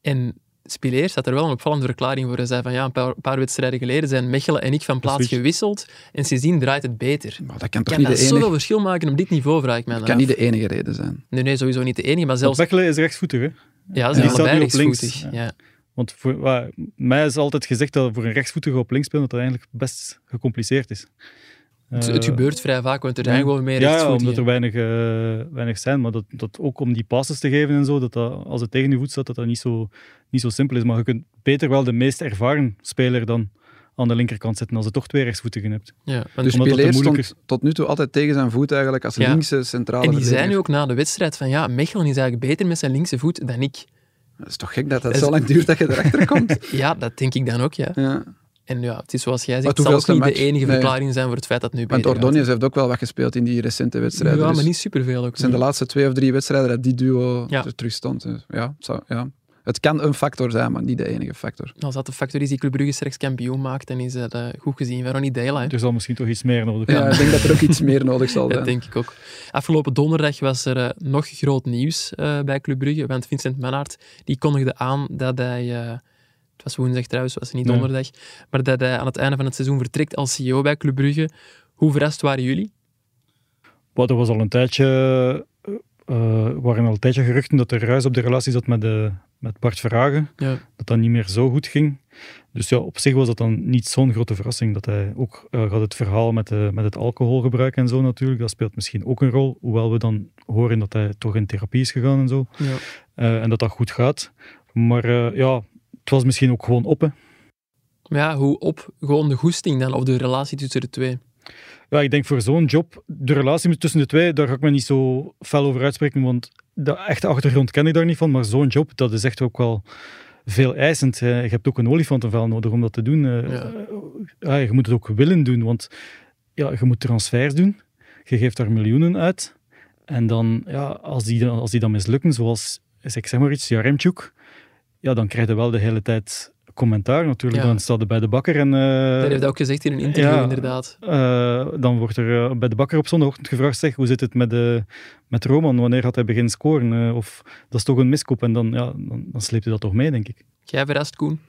Speaker 2: En Spileers had er wel een opvallende verklaring voor. Hij zei van ja, een paar, paar wedstrijden geleden zijn Mechelen en ik van plaats
Speaker 3: Switch.
Speaker 2: gewisseld en sindsdien draait het beter.
Speaker 1: Maar dat kan toch
Speaker 2: Kan
Speaker 1: niet,
Speaker 2: dat
Speaker 1: de enige,
Speaker 2: zoveel verschil maken op dit niveau, vraag ik mij
Speaker 1: dat
Speaker 2: dan
Speaker 1: kan
Speaker 2: af.
Speaker 1: niet de enige reden zijn.
Speaker 2: Nee, nee, sowieso niet de enige, maar
Speaker 3: Want
Speaker 2: zelfs...
Speaker 3: Mechelen is rechtsvoetig, hè?
Speaker 2: Ja, ze
Speaker 1: die
Speaker 2: zijn
Speaker 3: staat
Speaker 2: allebei
Speaker 3: nu op links.
Speaker 2: rechtsvoetig. Ja.
Speaker 3: Want voor, wa- mij is altijd gezegd dat voor een rechtsvoetige op links spelen, dat dat eigenlijk best gecompliceerd is.
Speaker 2: Het,
Speaker 3: Eh,
Speaker 2: het gebeurt vrij vaak, want er zijn
Speaker 3: ja.
Speaker 2: gewoon meer
Speaker 3: ja, ja,
Speaker 2: rechtsvoetigen.
Speaker 3: omdat er weinig, eh, weinig zijn, maar dat, dat ook om die passes te geven en zo, dat, dat als het tegen je voet staat, dat dat niet zo, niet zo simpel is. Maar je kunt beter wel de meest ervaren speler dan aan de linkerkant zetten, als je toch twee rechtsvoetigen hebt.
Speaker 2: Ja, want-
Speaker 1: Dus
Speaker 3: Omdat dat de
Speaker 1: Pileer
Speaker 3: moeilijker-
Speaker 1: stond tot nu toe altijd tegen zijn voet eigenlijk als
Speaker 2: Ja.
Speaker 1: linkse centrale
Speaker 2: en die zijn nu
Speaker 1: verdediger.
Speaker 2: ook na de wedstrijd van ja, Mechelen is eigenlijk beter met zijn linkse voet dan ik.
Speaker 1: Dat is toch gek dat dat
Speaker 2: Dat is-
Speaker 1: zo lang duurt dat je erachter komt.
Speaker 2: Ja, dat denk ik dan ook, ja.
Speaker 1: Ja.
Speaker 2: En ja, het is zoals jij
Speaker 1: Maar
Speaker 2: zegt, het zal ook
Speaker 1: hoeveelste
Speaker 2: niet de
Speaker 1: match?
Speaker 2: enige
Speaker 1: Nee.
Speaker 2: verklaring zijn voor het feit dat het nu
Speaker 1: Want
Speaker 2: beter gaat.
Speaker 1: Ordonez heeft ook wel wat gespeeld in die recente wedstrijden.
Speaker 2: Ja,
Speaker 1: dus-
Speaker 2: maar niet superveel ook.
Speaker 1: Het zijn de
Speaker 2: nee.
Speaker 1: laatste twee of drie wedstrijden dat die duo
Speaker 2: Ja.
Speaker 1: er terug stond. Dus ja, het, zou- ja. het kan een factor zijn, maar niet de enige factor.
Speaker 2: Als dat de factor is die Club Brugge straks kampioen maakt, dan is dat eh, goed gezien van Ronnie Dela. hè.
Speaker 3: Dus Er zal misschien toch iets meer nodig
Speaker 1: Ja,
Speaker 3: zijn.
Speaker 1: ik denk dat er ook iets meer nodig zal
Speaker 2: Dat
Speaker 1: zijn.
Speaker 2: denk ik ook. Afgelopen donderdag was er eh, nog groot nieuws eh, bij Club Brugge, want Vincent Mannaert die kondigde aan dat hij, eh, het was woensdag trouwens, was niet
Speaker 3: Nee.
Speaker 2: donderdag, maar dat hij aan het einde van het seizoen vertrekt als CEO bij Club Brugge. Hoe verrast waren jullie?
Speaker 3: Maar er was al een tijdje, eh, waren al een tijdje geruchten dat er ruis op de relatie zat met, de, met Bart Verhagen.
Speaker 2: Ja.
Speaker 3: Dat dat niet meer zo goed ging. Dus ja, op zich was dat dan niet zo'n grote verrassing. Dat hij ook eh, gaat het verhaal met, eh, met het alcoholgebruik en zo natuurlijk. Dat speelt misschien ook een rol. Hoewel we dan horen dat hij toch in therapie is gegaan en zo.
Speaker 2: Ja.
Speaker 3: Eh, en dat dat goed gaat. Maar eh, ja, het was misschien ook gewoon op. hè.
Speaker 2: Maar ja, hoe op gewoon de goesting dan, of de relatie tussen de twee?
Speaker 3: Ja, ik denk voor zo'n job, de relatie tussen de twee, daar ga ik me niet zo fel over uitspreken, want de echte achtergrond ken ik daar niet van. Maar zo'n job, dat is echt ook wel veel eisend. Eh, je hebt ook een olifantenvel nodig om dat te doen. Eh,
Speaker 2: Ja.
Speaker 3: eh, je moet het ook willen doen, want ja, je moet transfers doen. Je geeft daar miljoenen uit. En dan, ja, als die, dan- als die dan mislukken, zoals, ik zeg maar iets, Jaremchuk, ja, dan krijg je wel de hele tijd commentaar natuurlijk.
Speaker 2: Ja.
Speaker 3: Dan staat het bij de bakker en... eh,
Speaker 2: dat heeft hij ook gezegd in een interview,
Speaker 3: ja.
Speaker 2: inderdaad.
Speaker 3: eh, dan wordt er eh, bij de bakker op zondagochtend gevraagd, zeg, hoe zit het met, eh, met Roman? Wanneer gaat hij beginnen scoren? Eh, of dat is toch een miskoop? En dan, ja, dan, dan sleept hij dat toch mee, denk ik.
Speaker 2: Jij verrast, Koen.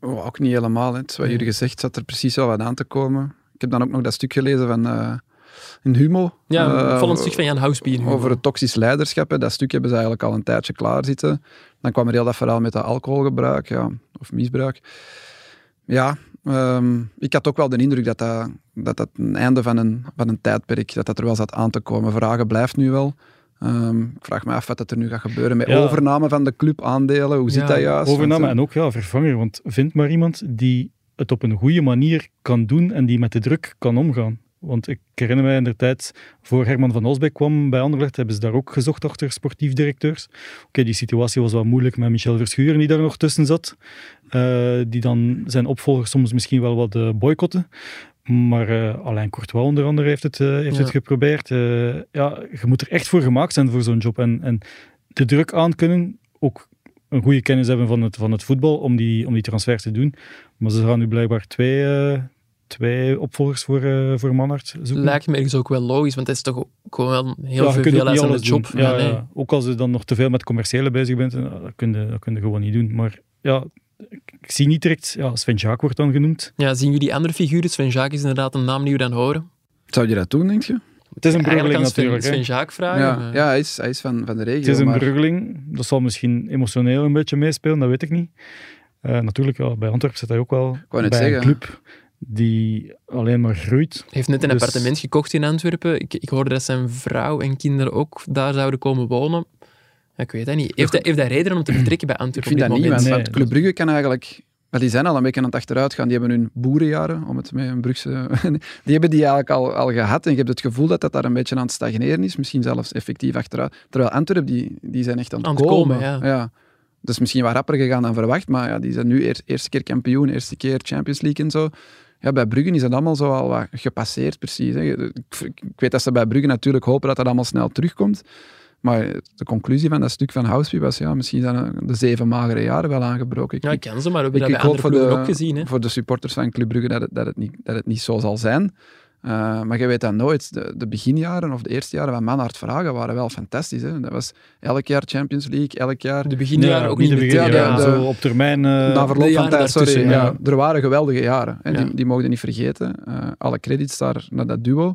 Speaker 1: Oh, ook niet helemaal. Hè. Het is Wat jullie gezegd zat er precies wel wat aan te komen. Ik heb dan ook nog dat stuk gelezen van eh, in Humo.
Speaker 2: Ja,
Speaker 1: Eh,
Speaker 2: opvallend stuk van Jan Housby.
Speaker 1: Over het toxisch leiderschap. Hè. Dat stuk hebben ze eigenlijk al een tijdje klaar zitten. Dan kwam er heel dat verhaal met dat alcoholgebruik, ja, of misbruik. Ja, ehm, ik had ook wel de indruk dat dat, dat, dat een einde van een, van een tijdperk, dat dat er wel zat aan te komen. Vragen blijft nu wel. Ehm, ik vraag me af wat dat er nu gaat gebeuren met
Speaker 3: Ja.
Speaker 1: overname van de clubaandelen. Hoe zit
Speaker 2: Ja,
Speaker 1: dat juist?
Speaker 3: Overname
Speaker 1: Want,
Speaker 3: en ook ja, vervanger, want vind maar iemand die het op een goede manier kan doen en die met de druk kan omgaan. Want ik herinner mij in de tijd, voor Herman van Osbeek kwam bij Anderlecht, hebben ze daar ook gezocht achter sportief directeurs. Oké, die situatie was wel moeilijk met Michel Verschuren die daar nog tussen zat. eh, die dan zijn opvolger soms misschien wel wat eh, boycotten. Maar eh Alain Courtois onder andere heeft het, eh, heeft
Speaker 2: Ja.
Speaker 3: het geprobeerd. Eh, ja, je moet er echt voor gemaakt zijn voor zo'n job. En, en de druk aankunnen, ook een goede kennis hebben van het, van het voetbal om die, om die transfers te doen. Maar ze gaan nu blijkbaar twee, eh, twee opvolgers voor, eh voor Manhart zoeken.
Speaker 2: Lijkt me ergens ook wel logisch, want dat is toch ook gewoon wel een heel
Speaker 3: Ja, je kunt ook
Speaker 2: vervelend
Speaker 3: niet
Speaker 2: aan de
Speaker 3: alles
Speaker 2: job.
Speaker 3: doen. Ja,
Speaker 2: nee.
Speaker 3: ja. Ook als je dan nog te veel met commerciële bezig bent, eh, dat kun je, dat kun je gewoon niet doen. Maar ja, ik, ik zie niet direct, ja, Sven Jaak wordt dan genoemd.
Speaker 2: Ja, zien jullie andere figuren? Sven Jaak is inderdaad een naam die we dan horen.
Speaker 1: eh, Zou je dat doen, denk je?
Speaker 3: Het is
Speaker 2: Eigenlijk
Speaker 3: een bruggeling
Speaker 2: kan Sven,
Speaker 3: natuurlijk. hè.
Speaker 2: Sven Jaak vragen.
Speaker 1: Ja,
Speaker 2: maar-
Speaker 1: ja hij, is, hij is van, van de regio.
Speaker 3: Het is een
Speaker 1: maar-
Speaker 3: bruggeling. Dat zal misschien emotioneel een beetje meespelen, dat weet ik niet. Eh, natuurlijk, ja, bij Antwerpen zit hij ook wel
Speaker 1: wou
Speaker 3: bij
Speaker 1: net
Speaker 3: een
Speaker 1: zeggen.
Speaker 3: club die alleen maar groeit.
Speaker 2: heeft net een
Speaker 3: Dus-
Speaker 2: appartement gekocht in Antwerpen. Ik, ik hoorde dat zijn vrouw en kinderen ook daar zouden komen wonen. Ja, ik weet dat niet. Heeft hij, heeft hij redenen om te vertrekken bij
Speaker 1: Ik
Speaker 2: Antwerpen
Speaker 1: vind
Speaker 2: op
Speaker 1: dat
Speaker 2: dit
Speaker 1: niet,
Speaker 2: moment?
Speaker 1: want,
Speaker 3: Nee,
Speaker 1: want Club Brugge kan eigenlijk... Maar die zijn al een beetje aan het achteruit gaan. Die hebben hun boerenjaren, om het met een Brugse... Die hebben die eigenlijk al, al gehad. En je hebt het gevoel dat dat daar een beetje aan het stagneren is. Misschien zelfs effectief achteruit. Terwijl Antwerpen, die, die zijn echt aan het,
Speaker 2: Aan het komen, ja.
Speaker 1: Dat is misschien wat rapper gegaan dan verwacht. Maar ja, die zijn nu eer- eerste keer kampioen, eerste keer Champions League en zo. Ja, bij Brugge is dat allemaal zo al wat gepasseerd, precies. Hè. Ik, ik weet dat ze bij Brugge natuurlijk hopen dat dat allemaal snel terugkomt. Maar de conclusie van dat stuk van Housby was, ja, misschien zijn eh, de zeven magere jaren wel aangebroken. Ik,
Speaker 2: Ja, ik
Speaker 1: ik,
Speaker 2: ken ze, maar we
Speaker 1: ik-
Speaker 2: hebben dat bij
Speaker 1: ik hoop
Speaker 2: andere
Speaker 1: voor
Speaker 2: ploegen
Speaker 1: de-
Speaker 2: ook gezien. Hè.
Speaker 1: voor de supporters van Club Brugge dat het, dat het, niet, dat het niet zo zal zijn. Eh, maar je weet dat nooit. De, de beginjaren of de eerste jaren van Manhart Vragen waren wel fantastisch. Hè. Dat was elk jaar Champions League, elk jaar...
Speaker 2: De beginjaren
Speaker 3: Ja,
Speaker 2: ook niet
Speaker 3: de
Speaker 2: meteen.
Speaker 1: beginjaren,
Speaker 2: ja.
Speaker 1: de-
Speaker 3: zo op termijn. eh,
Speaker 1: Na verloop
Speaker 2: de
Speaker 1: van
Speaker 2: jaren
Speaker 1: tijd, sorry.
Speaker 2: daartussen,
Speaker 1: Ja.
Speaker 3: ja.
Speaker 1: Er waren geweldige jaren. Hè.
Speaker 2: Ja.
Speaker 1: Die, die mogen we niet vergeten. Eh, alle credits daar naar dat duo.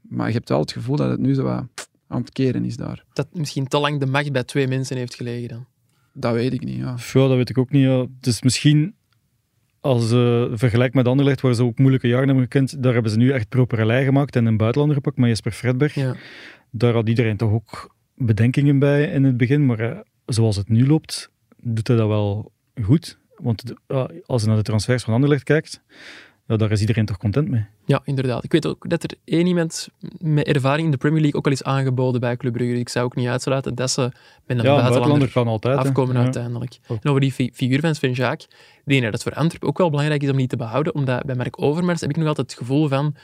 Speaker 1: Maar je hebt wel het gevoel dat het nu zo wat aan het keren is daar.
Speaker 2: Dat misschien te lang de macht bij twee mensen heeft gelegen dan.
Speaker 1: Dat weet ik niet, ja.
Speaker 3: Ja, dat weet ik ook niet. Ja. Dus misschien als eh vergelijk met Anderlecht, waar ze ook moeilijke jaren hebben gekend, daar hebben ze nu echt proper lei gemaakt en een buitenlander gepakt met Jesper Fredberg.
Speaker 2: Ja.
Speaker 3: Daar had iedereen toch ook bedenkingen bij in het begin. Maar eh, zoals het nu loopt, doet hij dat wel goed. Want de- ja, als je naar de transfers van Anderlecht kijkt, ja, daar is iedereen toch content mee.
Speaker 2: ja, inderdaad. Ik weet ook dat er één iemand met ervaring in de Premier League ook al is aangeboden bij Club Brugge. Dus Ik zou ook niet uitsluiten dat ze met een
Speaker 3: ja, een
Speaker 2: buitenlander
Speaker 3: buitenlander kan altijd. hè.
Speaker 2: afkomen eh.
Speaker 3: Ja. Oh.
Speaker 2: uiteindelijk.
Speaker 3: Ook.
Speaker 2: En over die fi- figuur van Sven Jaak, ik denk dat het voor Antwerpen ook wel belangrijk is om die te behouden, omdat bij Mark Overmars heb ik nog altijd het gevoel van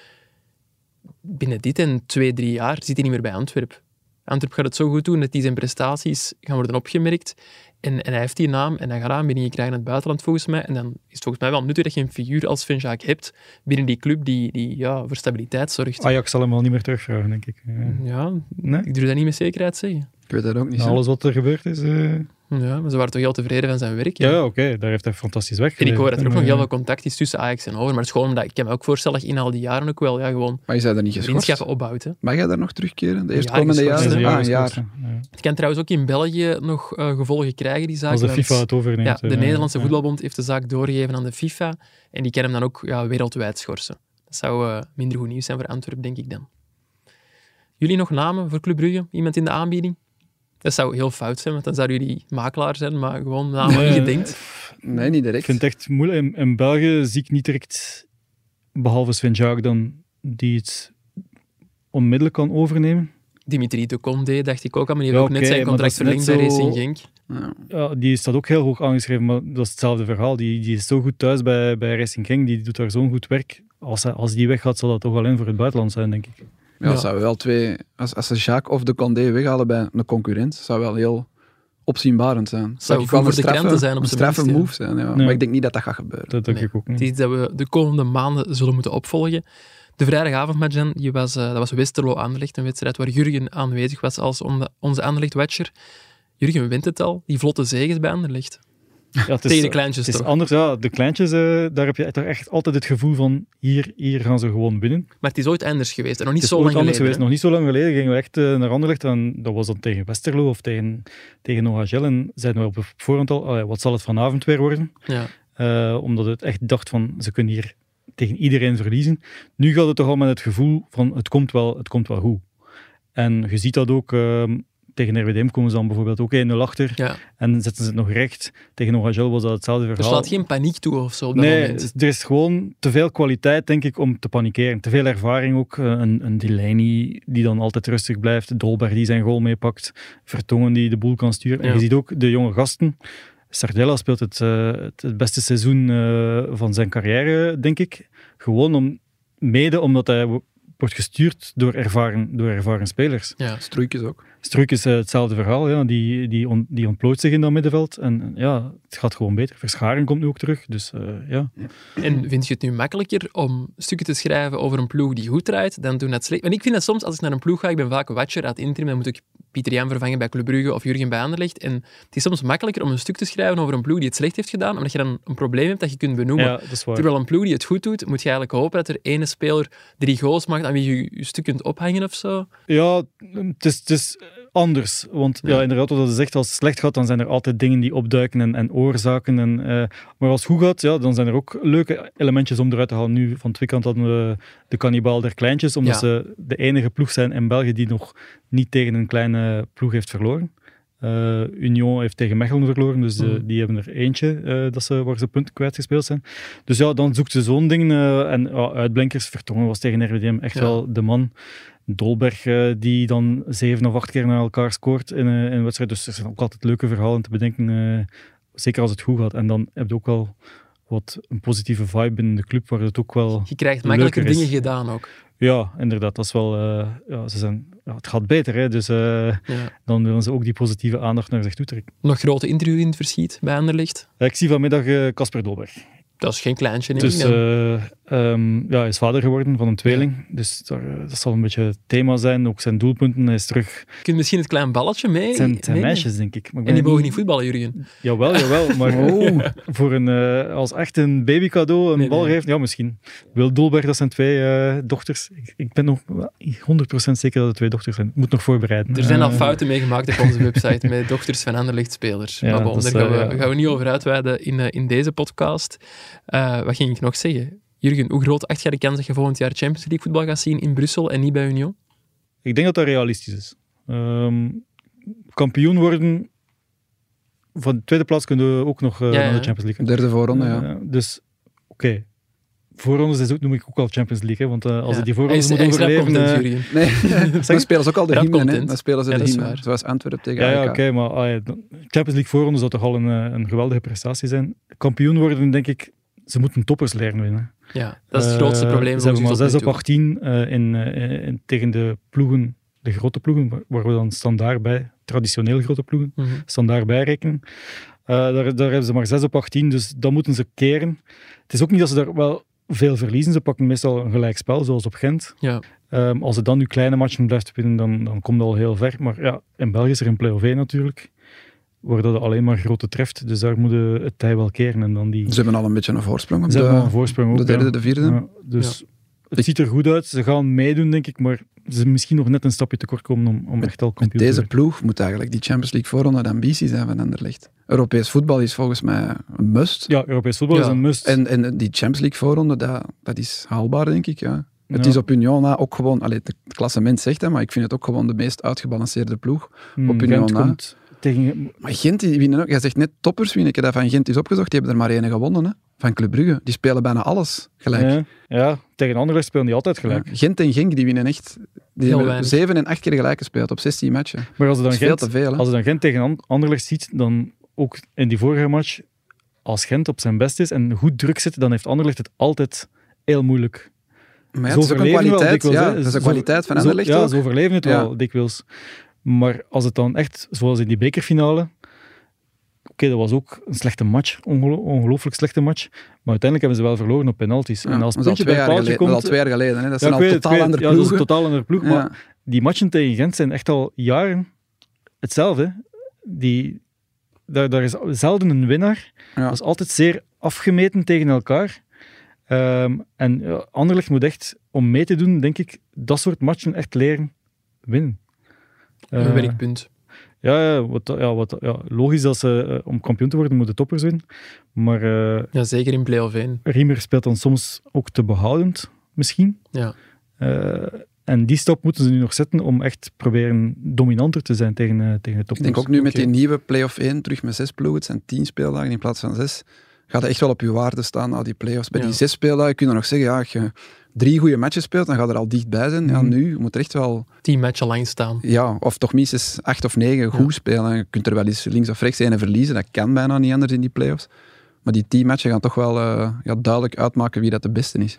Speaker 2: binnen dit en twee, drie jaar zit hij niet meer bij Antwerp. Antwerp gaat het zo goed doen dat die zijn prestaties gaan worden opgemerkt en, en hij heeft die naam en dan gaat hij binnen je krijgen in het buitenland volgens mij en dan is het volgens mij wel nuttig dat je een figuur als Sven Jaak hebt binnen die club die, die ja, voor stabiliteit zorgt.
Speaker 3: Ajax zal hem wel niet meer terugvragen, denk ik. Ja.
Speaker 2: Ja,
Speaker 3: Nee?
Speaker 2: ik durf dat Mm-hmm. niet met zekerheid zeggen.
Speaker 1: Ik weet dat ook niet. hè.
Speaker 3: Na
Speaker 2: Nou,
Speaker 3: alles wat er gebeurd is. eh,
Speaker 2: Ja, maar ze waren toch heel tevreden van zijn werk.
Speaker 3: Ja, ja, oké, daar heeft hij fantastisch weg.
Speaker 2: En ik hoor dat er ook nog
Speaker 3: En,
Speaker 2: heel
Speaker 3: eh,
Speaker 2: veel contact is tussen Ajax en Over. Maar het is gewoon omdat ik kan me ook voorstellen dat je in al die jaren ook wel ja, gewoon
Speaker 1: Maar je zei er niet geschorst.
Speaker 2: vriendschappen opbouwt. Hè.
Speaker 1: Mag jij daar nog terugkeren? De
Speaker 2: Een
Speaker 1: eerstkomende
Speaker 2: jaar
Speaker 1: jaren?
Speaker 2: geschorst,
Speaker 1: Ah, een jaar.
Speaker 3: Ja.
Speaker 2: Het kan trouwens ook in België nog eh, gevolgen krijgen, die zaak.
Speaker 3: Als de
Speaker 2: want-
Speaker 3: FIFA het overneemt.
Speaker 2: ja,
Speaker 3: eh,
Speaker 2: de Nederlandse
Speaker 3: ja.
Speaker 2: Voetbalbond heeft de zaak doorgegeven aan de FIFA. En die kan hem dan ook ja, wereldwijd schorsen. Dat zou eh, minder goed nieuws zijn voor Antwerpen, denk ik dan. Jullie nog namen voor Club Brugge? Iemand in de aanbieding? Dat zou heel fout zijn, want dan zouden jullie makelaar zijn, maar gewoon namen die je
Speaker 3: Nee,
Speaker 2: denkt.
Speaker 1: Nee, niet
Speaker 3: Ik
Speaker 1: direct.
Speaker 3: vind het echt moeilijk. In, in België zie ik niet direct, behalve Sven Jaak dan, die het onmiddellijk kan overnemen.
Speaker 2: Dimitri de Condé, dacht ik ook al, maar die
Speaker 3: Ja,
Speaker 2: heeft ook net
Speaker 3: oké,
Speaker 2: zijn
Speaker 3: maar dat
Speaker 2: contract
Speaker 3: is net
Speaker 2: verlengd bij
Speaker 3: zo-
Speaker 2: Racing Genk.
Speaker 1: Ja.
Speaker 3: Ja, die staat ook heel hoog aangeschreven, maar dat is hetzelfde verhaal. Die, die is zo goed thuis bij, bij Racing Genk, die doet daar zo'n goed werk. Als, hij- als die weggaat, zal dat toch alleen voor het buitenland zijn, denk ik.
Speaker 1: Ja,
Speaker 2: Ja.
Speaker 1: zou wel twee... Als, als ze Jacques of de Condé weghalen bij een concurrent, zou wel heel opzienbarend zijn.
Speaker 2: Zou
Speaker 1: ik wel
Speaker 2: goed voor de kranten zijn op
Speaker 1: een
Speaker 2: zijn
Speaker 1: straffe
Speaker 2: minst, ja.
Speaker 1: move zijn, ja.
Speaker 3: Nee.
Speaker 1: Maar ik denk niet dat dat gaat gebeuren.
Speaker 3: Dat denk
Speaker 2: Nee.
Speaker 3: ik ook
Speaker 2: Het
Speaker 3: niet.
Speaker 2: is iets dat we de komende maanden zullen moeten opvolgen. De vrijdagavondmatch, Jan, je was, eh, dat was Westerlo Anderlecht, een wedstrijd waar Jurgen aanwezig was als on- onze Anderlecht-watcher. Jurgen wint het al, die vlotte zegens bij Anderlecht.
Speaker 3: Ja, het is, eh,
Speaker 2: Tegen de kleintjes
Speaker 3: het is
Speaker 2: toch?
Speaker 3: anders, ja. De kleintjes, eh, daar heb je toch echt altijd het gevoel van, hier, hier gaan ze gewoon binnen.
Speaker 2: Maar het is ooit anders geweest en nog niet
Speaker 3: Het
Speaker 2: zo
Speaker 3: is
Speaker 2: lang
Speaker 3: ooit
Speaker 2: geleden.
Speaker 3: anders geweest.
Speaker 2: hè?
Speaker 3: Nog niet zo lang geleden gingen we echt eh, naar Anderlecht. En dat was dan tegen Westerlo of tegen, tegen OHL. En zeiden we op voorhand al, "Allee, wat zal het vanavond weer worden?
Speaker 2: Ja.
Speaker 3: Eh, omdat het echt dacht van, ze kunnen hier tegen iedereen verliezen. Nu gaat het toch al met het gevoel van, het komt wel, het komt wel goed. En je ziet dat ook... eh, tegen RWDM komen ze dan bijvoorbeeld ook 1-0 achter
Speaker 2: Ja.
Speaker 3: en zetten ze het nog recht. Tegen OHL was dat hetzelfde
Speaker 2: Er
Speaker 3: verhaal.
Speaker 2: slaat geen paniek toe of zo op dat
Speaker 3: Nee,
Speaker 2: moment.
Speaker 3: er is gewoon te veel kwaliteit, denk ik, om te panikeren. Te veel ervaring ook. Eh, Een, een Delaney die dan altijd rustig blijft. Dolberg die zijn goal meepakt. Vertongen die de boel kan sturen. En
Speaker 2: Ja.
Speaker 3: je ziet ook de jonge gasten. Sardella speelt het, eh, het, het beste seizoen eh, van zijn carrière, denk ik. Gewoon om, mede omdat hij wo- wordt gestuurd door ervaren, door ervaren spelers.
Speaker 2: Ja.
Speaker 1: Stroeikjes ook.
Speaker 3: Struik is eh, hetzelfde verhaal. Ja. Die, die, on- die ontplooit zich in dat middenveld. En eh, ja, het gaat gewoon beter. Verscharen komt nu ook terug. Dus eh, ja.
Speaker 2: En vind je het nu makkelijker om stukken te schrijven over een ploeg die goed draait, dan toen dat slecht... Want ik vind dat soms, als ik naar een ploeg ga, ik ben vaak watcher uit interim, dan moet ik Pieter Jan vervangen bij Club Brugge of Jurgen bij Anderlecht. En het is soms makkelijker om een stuk te schrijven over een ploeg die het slecht heeft gedaan, omdat je dan een probleem hebt dat je kunt benoemen.
Speaker 3: Ja, dat is waar.
Speaker 2: Terwijl een ploeg die het goed doet, moet je eigenlijk hopen dat er ene speler drie goals maakt aan wie je je stuk kunt ophangen of zo.
Speaker 3: Ja, het is, het is anders. Want ja.
Speaker 2: Ja.
Speaker 3: inderdaad, wat je zegt, als het slecht gaat, dan zijn er altijd dingen die opduiken en, en oorzaken. En, eh, maar als het goed gaat, ja, dan zijn er ook leuke elementjes om eruit te halen. Nu, van het weekend hadden we de kannibaal der kleintjes, omdat
Speaker 2: Ja.
Speaker 3: ze de enige ploeg zijn in België die nog niet tegen een kleine ploeg heeft verloren. Eh, Union heeft tegen Mechelen verloren, dus eh,
Speaker 2: Mhm.
Speaker 3: die hebben er eentje eh, dat ze, waar ze punten kwijtgespeeld zijn. Dus ja, dan zoekt ze zo'n ding. eh, en ja, uitblinkers, Vertongen was tegen RWDM echt
Speaker 2: Ja.
Speaker 3: wel de man. Dolberg, eh, die dan zeven of acht keer naar elkaar scoort in, eh, in een wedstrijd. Dus er zijn ook altijd leuke verhalen te bedenken. eh, zeker als het goed gaat. En dan heb je ook wel wat een positieve vibe binnen de club, waar het ook wel...
Speaker 2: Je krijgt makkelijker
Speaker 3: Leuker is.
Speaker 2: dingen gedaan ook.
Speaker 3: Ja, inderdaad, dat is wel... eh, ja, ze zijn, ja, het gaat beter, hè. Dus eh,
Speaker 2: Ja.
Speaker 3: dan willen ze ook die positieve aandacht naar zich toe trekken.
Speaker 2: Nog grote interview in het verschiet bij Anderlecht.
Speaker 3: Eh, ik zie vanmiddag eh, Casper Dolberg.
Speaker 2: Dat is geen kleintje. neem ik
Speaker 3: Dus
Speaker 2: aan.
Speaker 3: eh, ehm, ja, hij is vader geworden van een tweeling. Dus daar, eh, dat zal een beetje het thema zijn. Ook zijn doelpunten. Hij is terug.
Speaker 2: Je kunt misschien het klein balletje mee.
Speaker 3: Het zijn, het zijn
Speaker 2: meenemen.
Speaker 3: meisjes, denk ik. Maar ik ben
Speaker 2: En die
Speaker 3: er
Speaker 2: mogen niet voetballen, Jurgen.
Speaker 3: Jawel, jawel. Maar
Speaker 1: Oh.
Speaker 3: voor een, eh, als echt een babycadeau een
Speaker 2: Nee,
Speaker 3: bal
Speaker 2: nee.
Speaker 3: geeft, ja, misschien. Wil Dolberg, dat zijn twee eh, dochters. Ik, ik ben nog wel 100% zeker dat het twee dochters zijn. Ik moet nog voorbereiden.
Speaker 2: Er zijn al
Speaker 3: Eh,
Speaker 2: fouten meegemaakt op onze website met dochters van Anderlecht-spelers.
Speaker 3: Ja,
Speaker 2: maar bon,
Speaker 3: dat is,
Speaker 2: daar gaan we,
Speaker 3: eh, ja.
Speaker 2: gaan we niet over uitweiden in, eh, in deze podcast. Eh, wat ging ik nog zeggen? Jurgen, hoe groot acht jij de kans dat je volgend jaar Champions League voetbal gaat zien in Brussel en niet bij Union?
Speaker 3: Ik denk dat dat realistisch is. Ehm, kampioen worden. Van de tweede plaats kunnen we ook nog eh,
Speaker 2: Ja, ja.
Speaker 3: naar de Champions League.
Speaker 1: Derde voorronde, ja.
Speaker 3: Eh, dus, oké. Voorrondes is ook, noem ik ook al Champions League. Hè, want eh, als
Speaker 2: Ja.
Speaker 3: ze die
Speaker 2: Hij
Speaker 3: voorrondes
Speaker 2: is-
Speaker 3: moeten
Speaker 2: hij is rap
Speaker 3: overleven...
Speaker 2: content,
Speaker 3: eh,
Speaker 2: Jurgen.
Speaker 1: Nee, dan spelen ze ook al de
Speaker 2: Rap
Speaker 1: hymne, hè.
Speaker 2: content.
Speaker 1: Dan spelen ze
Speaker 2: Ja,
Speaker 1: de
Speaker 2: dat is
Speaker 1: hymne.
Speaker 2: waar.
Speaker 1: Zoals Antwerpen tegen
Speaker 3: ja, ja oké,
Speaker 1: AEK.
Speaker 3: maar ah, ja, Champions League voorronde zou toch al een, eh, een geweldige prestatie zijn. Kampioen worden, denk ik, ze moeten toppers leren winnen.
Speaker 2: Ja, dat is het grootste
Speaker 3: Eh,
Speaker 2: probleem.
Speaker 3: Ze hebben maar
Speaker 2: volgens
Speaker 3: 6
Speaker 2: ons
Speaker 3: op
Speaker 2: tot nu
Speaker 3: 18 eh, in, eh, in- tegen de ploegen, de grote ploegen, waar- waar we dan standaard bij, traditioneel grote ploegen,
Speaker 2: toe. Mhm.
Speaker 3: standaard bij rekenen. Eh, daar, daar hebben ze maar 6 op 18, dus dat moeten ze keren. Het is ook niet dat ze daar wel veel verliezen. Ze pakken meestal een gelijkspel, zoals op Gent.
Speaker 2: Ja.
Speaker 3: Ehm, als het dan nu kleine matchen blijft winnen, dan, dan komt het al heel ver. Maar ja, in België is er een play-off 1 natuurlijk, waar dat alleen maar grote treft. Dus daar moet je het tij wel keren. En dan die...
Speaker 1: Ze hebben al een beetje een voorsprong op
Speaker 3: Ze hebben al een
Speaker 1: de,
Speaker 3: voorsprong
Speaker 1: op
Speaker 3: ook.
Speaker 1: de derde,
Speaker 3: ja.
Speaker 1: de vierde.
Speaker 3: Ja, dus het
Speaker 1: Ik-
Speaker 3: ziet er goed uit. Ze gaan meedoen, denk ik. Maar ze misschien nog net een stapje tekort komen om, om echt al
Speaker 1: Met
Speaker 3: kampioen te
Speaker 1: deze
Speaker 3: worden.
Speaker 1: ploeg moet eigenlijk die Champions League voorronde de ambitie zijn van Anderlecht. Europees voetbal is volgens mij een must.
Speaker 3: Ja, Europees voetbal
Speaker 2: Ja.
Speaker 3: is een must.
Speaker 1: En, en die Champions League voorronde, dat, dat is haalbaar, denk ik. Ja. Het
Speaker 3: Ja.
Speaker 1: is op Union na ook gewoon, allee, het het klassement zegt dat, maar ik vind het ook gewoon de meest uitgebalanceerde ploeg.
Speaker 3: Hmm,
Speaker 1: op
Speaker 3: Gent
Speaker 1: Union, hè.
Speaker 3: komt tegen...
Speaker 1: Maar Gent die winnen ook. Jij zegt net toppers winnen. Ik heb dat van Gent is opgezocht. Die hebben er maar één gewonnen. Hè. van Club Brugge. Die spelen bijna alles gelijk.
Speaker 3: Ja, ja, tegen anderen spelen die altijd gelijk.
Speaker 1: Ja. Gent en Genk die winnen echt. Die
Speaker 2: Heel
Speaker 1: hebben
Speaker 2: weinig.
Speaker 1: zeven en acht keer gelijk gespeeld op 16 matchen.
Speaker 3: Maar als
Speaker 1: Dat
Speaker 3: je dan
Speaker 1: is veel
Speaker 3: Gent,
Speaker 1: te veel. Hè?
Speaker 3: als je dan Gent tegen An- Anderlecht ziet, dan ook in die vorige match, als Gent op zijn best is en goed druk zit, dan heeft Anderlecht het altijd heel moeilijk.
Speaker 1: Maar ja,
Speaker 3: Zo
Speaker 1: het is ook een
Speaker 3: overleven wel
Speaker 1: kwaliteit.
Speaker 3: dikwijls,
Speaker 1: ja,
Speaker 3: hè.
Speaker 1: dat is een
Speaker 3: Zo-
Speaker 1: kwaliteit van
Speaker 3: zo,
Speaker 1: Anderlecht
Speaker 3: ja,
Speaker 1: ook.
Speaker 3: ze overleven het
Speaker 1: Ja.
Speaker 3: wel dikwijls. Maar als het dan echt, zoals in die bekerfinale, oké, dat was ook een slechte match, ongelo- ongelooflijk slechte match, maar uiteindelijk hebben ze wel verloren op penalties.
Speaker 1: Ja,
Speaker 3: en als
Speaker 1: dat
Speaker 3: het
Speaker 1: is al
Speaker 3: puntje
Speaker 1: twee
Speaker 3: bij
Speaker 1: jaar
Speaker 3: paaltje
Speaker 1: geleden.
Speaker 3: komt...
Speaker 1: dat is al twee jaar geleden. Hè? Dat
Speaker 3: Ja,
Speaker 1: zijn
Speaker 3: ik
Speaker 1: al
Speaker 3: weet het, ik
Speaker 1: totaal
Speaker 3: weet het.
Speaker 1: andere
Speaker 3: Ja, dat is een
Speaker 1: ploegen.
Speaker 3: totaal andere ploeg, maar
Speaker 1: Ja.
Speaker 3: die matchen tegen Gent zijn echt al jaren hetzelfde. Die, daar, daar is zelden een winnaar.
Speaker 1: Ja.
Speaker 3: Dat is altijd zeer afgemeten tegen elkaar. Ehm, en ja, Anderlecht moet echt, om mee te doen, denk ik, dat soort matchen echt leren winnen.
Speaker 2: Een
Speaker 3: Eh,
Speaker 2: werkpunt.
Speaker 3: ja, ja, wat, ja, wat, ja, logisch dat ze eh, om kampioen te worden moeten toppers winnen. Maar eh,
Speaker 2: Ja, zeker in play-off 1.
Speaker 3: Riemer speelt dan soms ook te behoudend, misschien.
Speaker 2: Ja.
Speaker 3: Eh, en die stap moeten ze nu nog zetten om echt proberen dominanter te zijn tegen, eh, tegen de top.
Speaker 1: Ik denk ook nu met die nieuwe play-off 1, terug met zes ploegen, het zijn tien speeldagen in plaats van zes, gaat het echt wel op je waarde staan, al die play-offs. Bij
Speaker 2: Ja.
Speaker 1: die zes speeldagen kun je nog zeggen, ja, als je drie goede matches speelt, dan gaat je er al dichtbij zijn. Ja,
Speaker 3: Mhm.
Speaker 1: nu je moet er echt wel,
Speaker 2: Die matchen lang staan.
Speaker 1: ja, of toch minstens acht of negen goed spelen. Je kunt er wel eens links of rechts een verliezen, dat kan bijna niet anders in die play-offs. Maar die tien matchen gaan toch wel eh, ja, duidelijk uitmaken wie dat de beste is.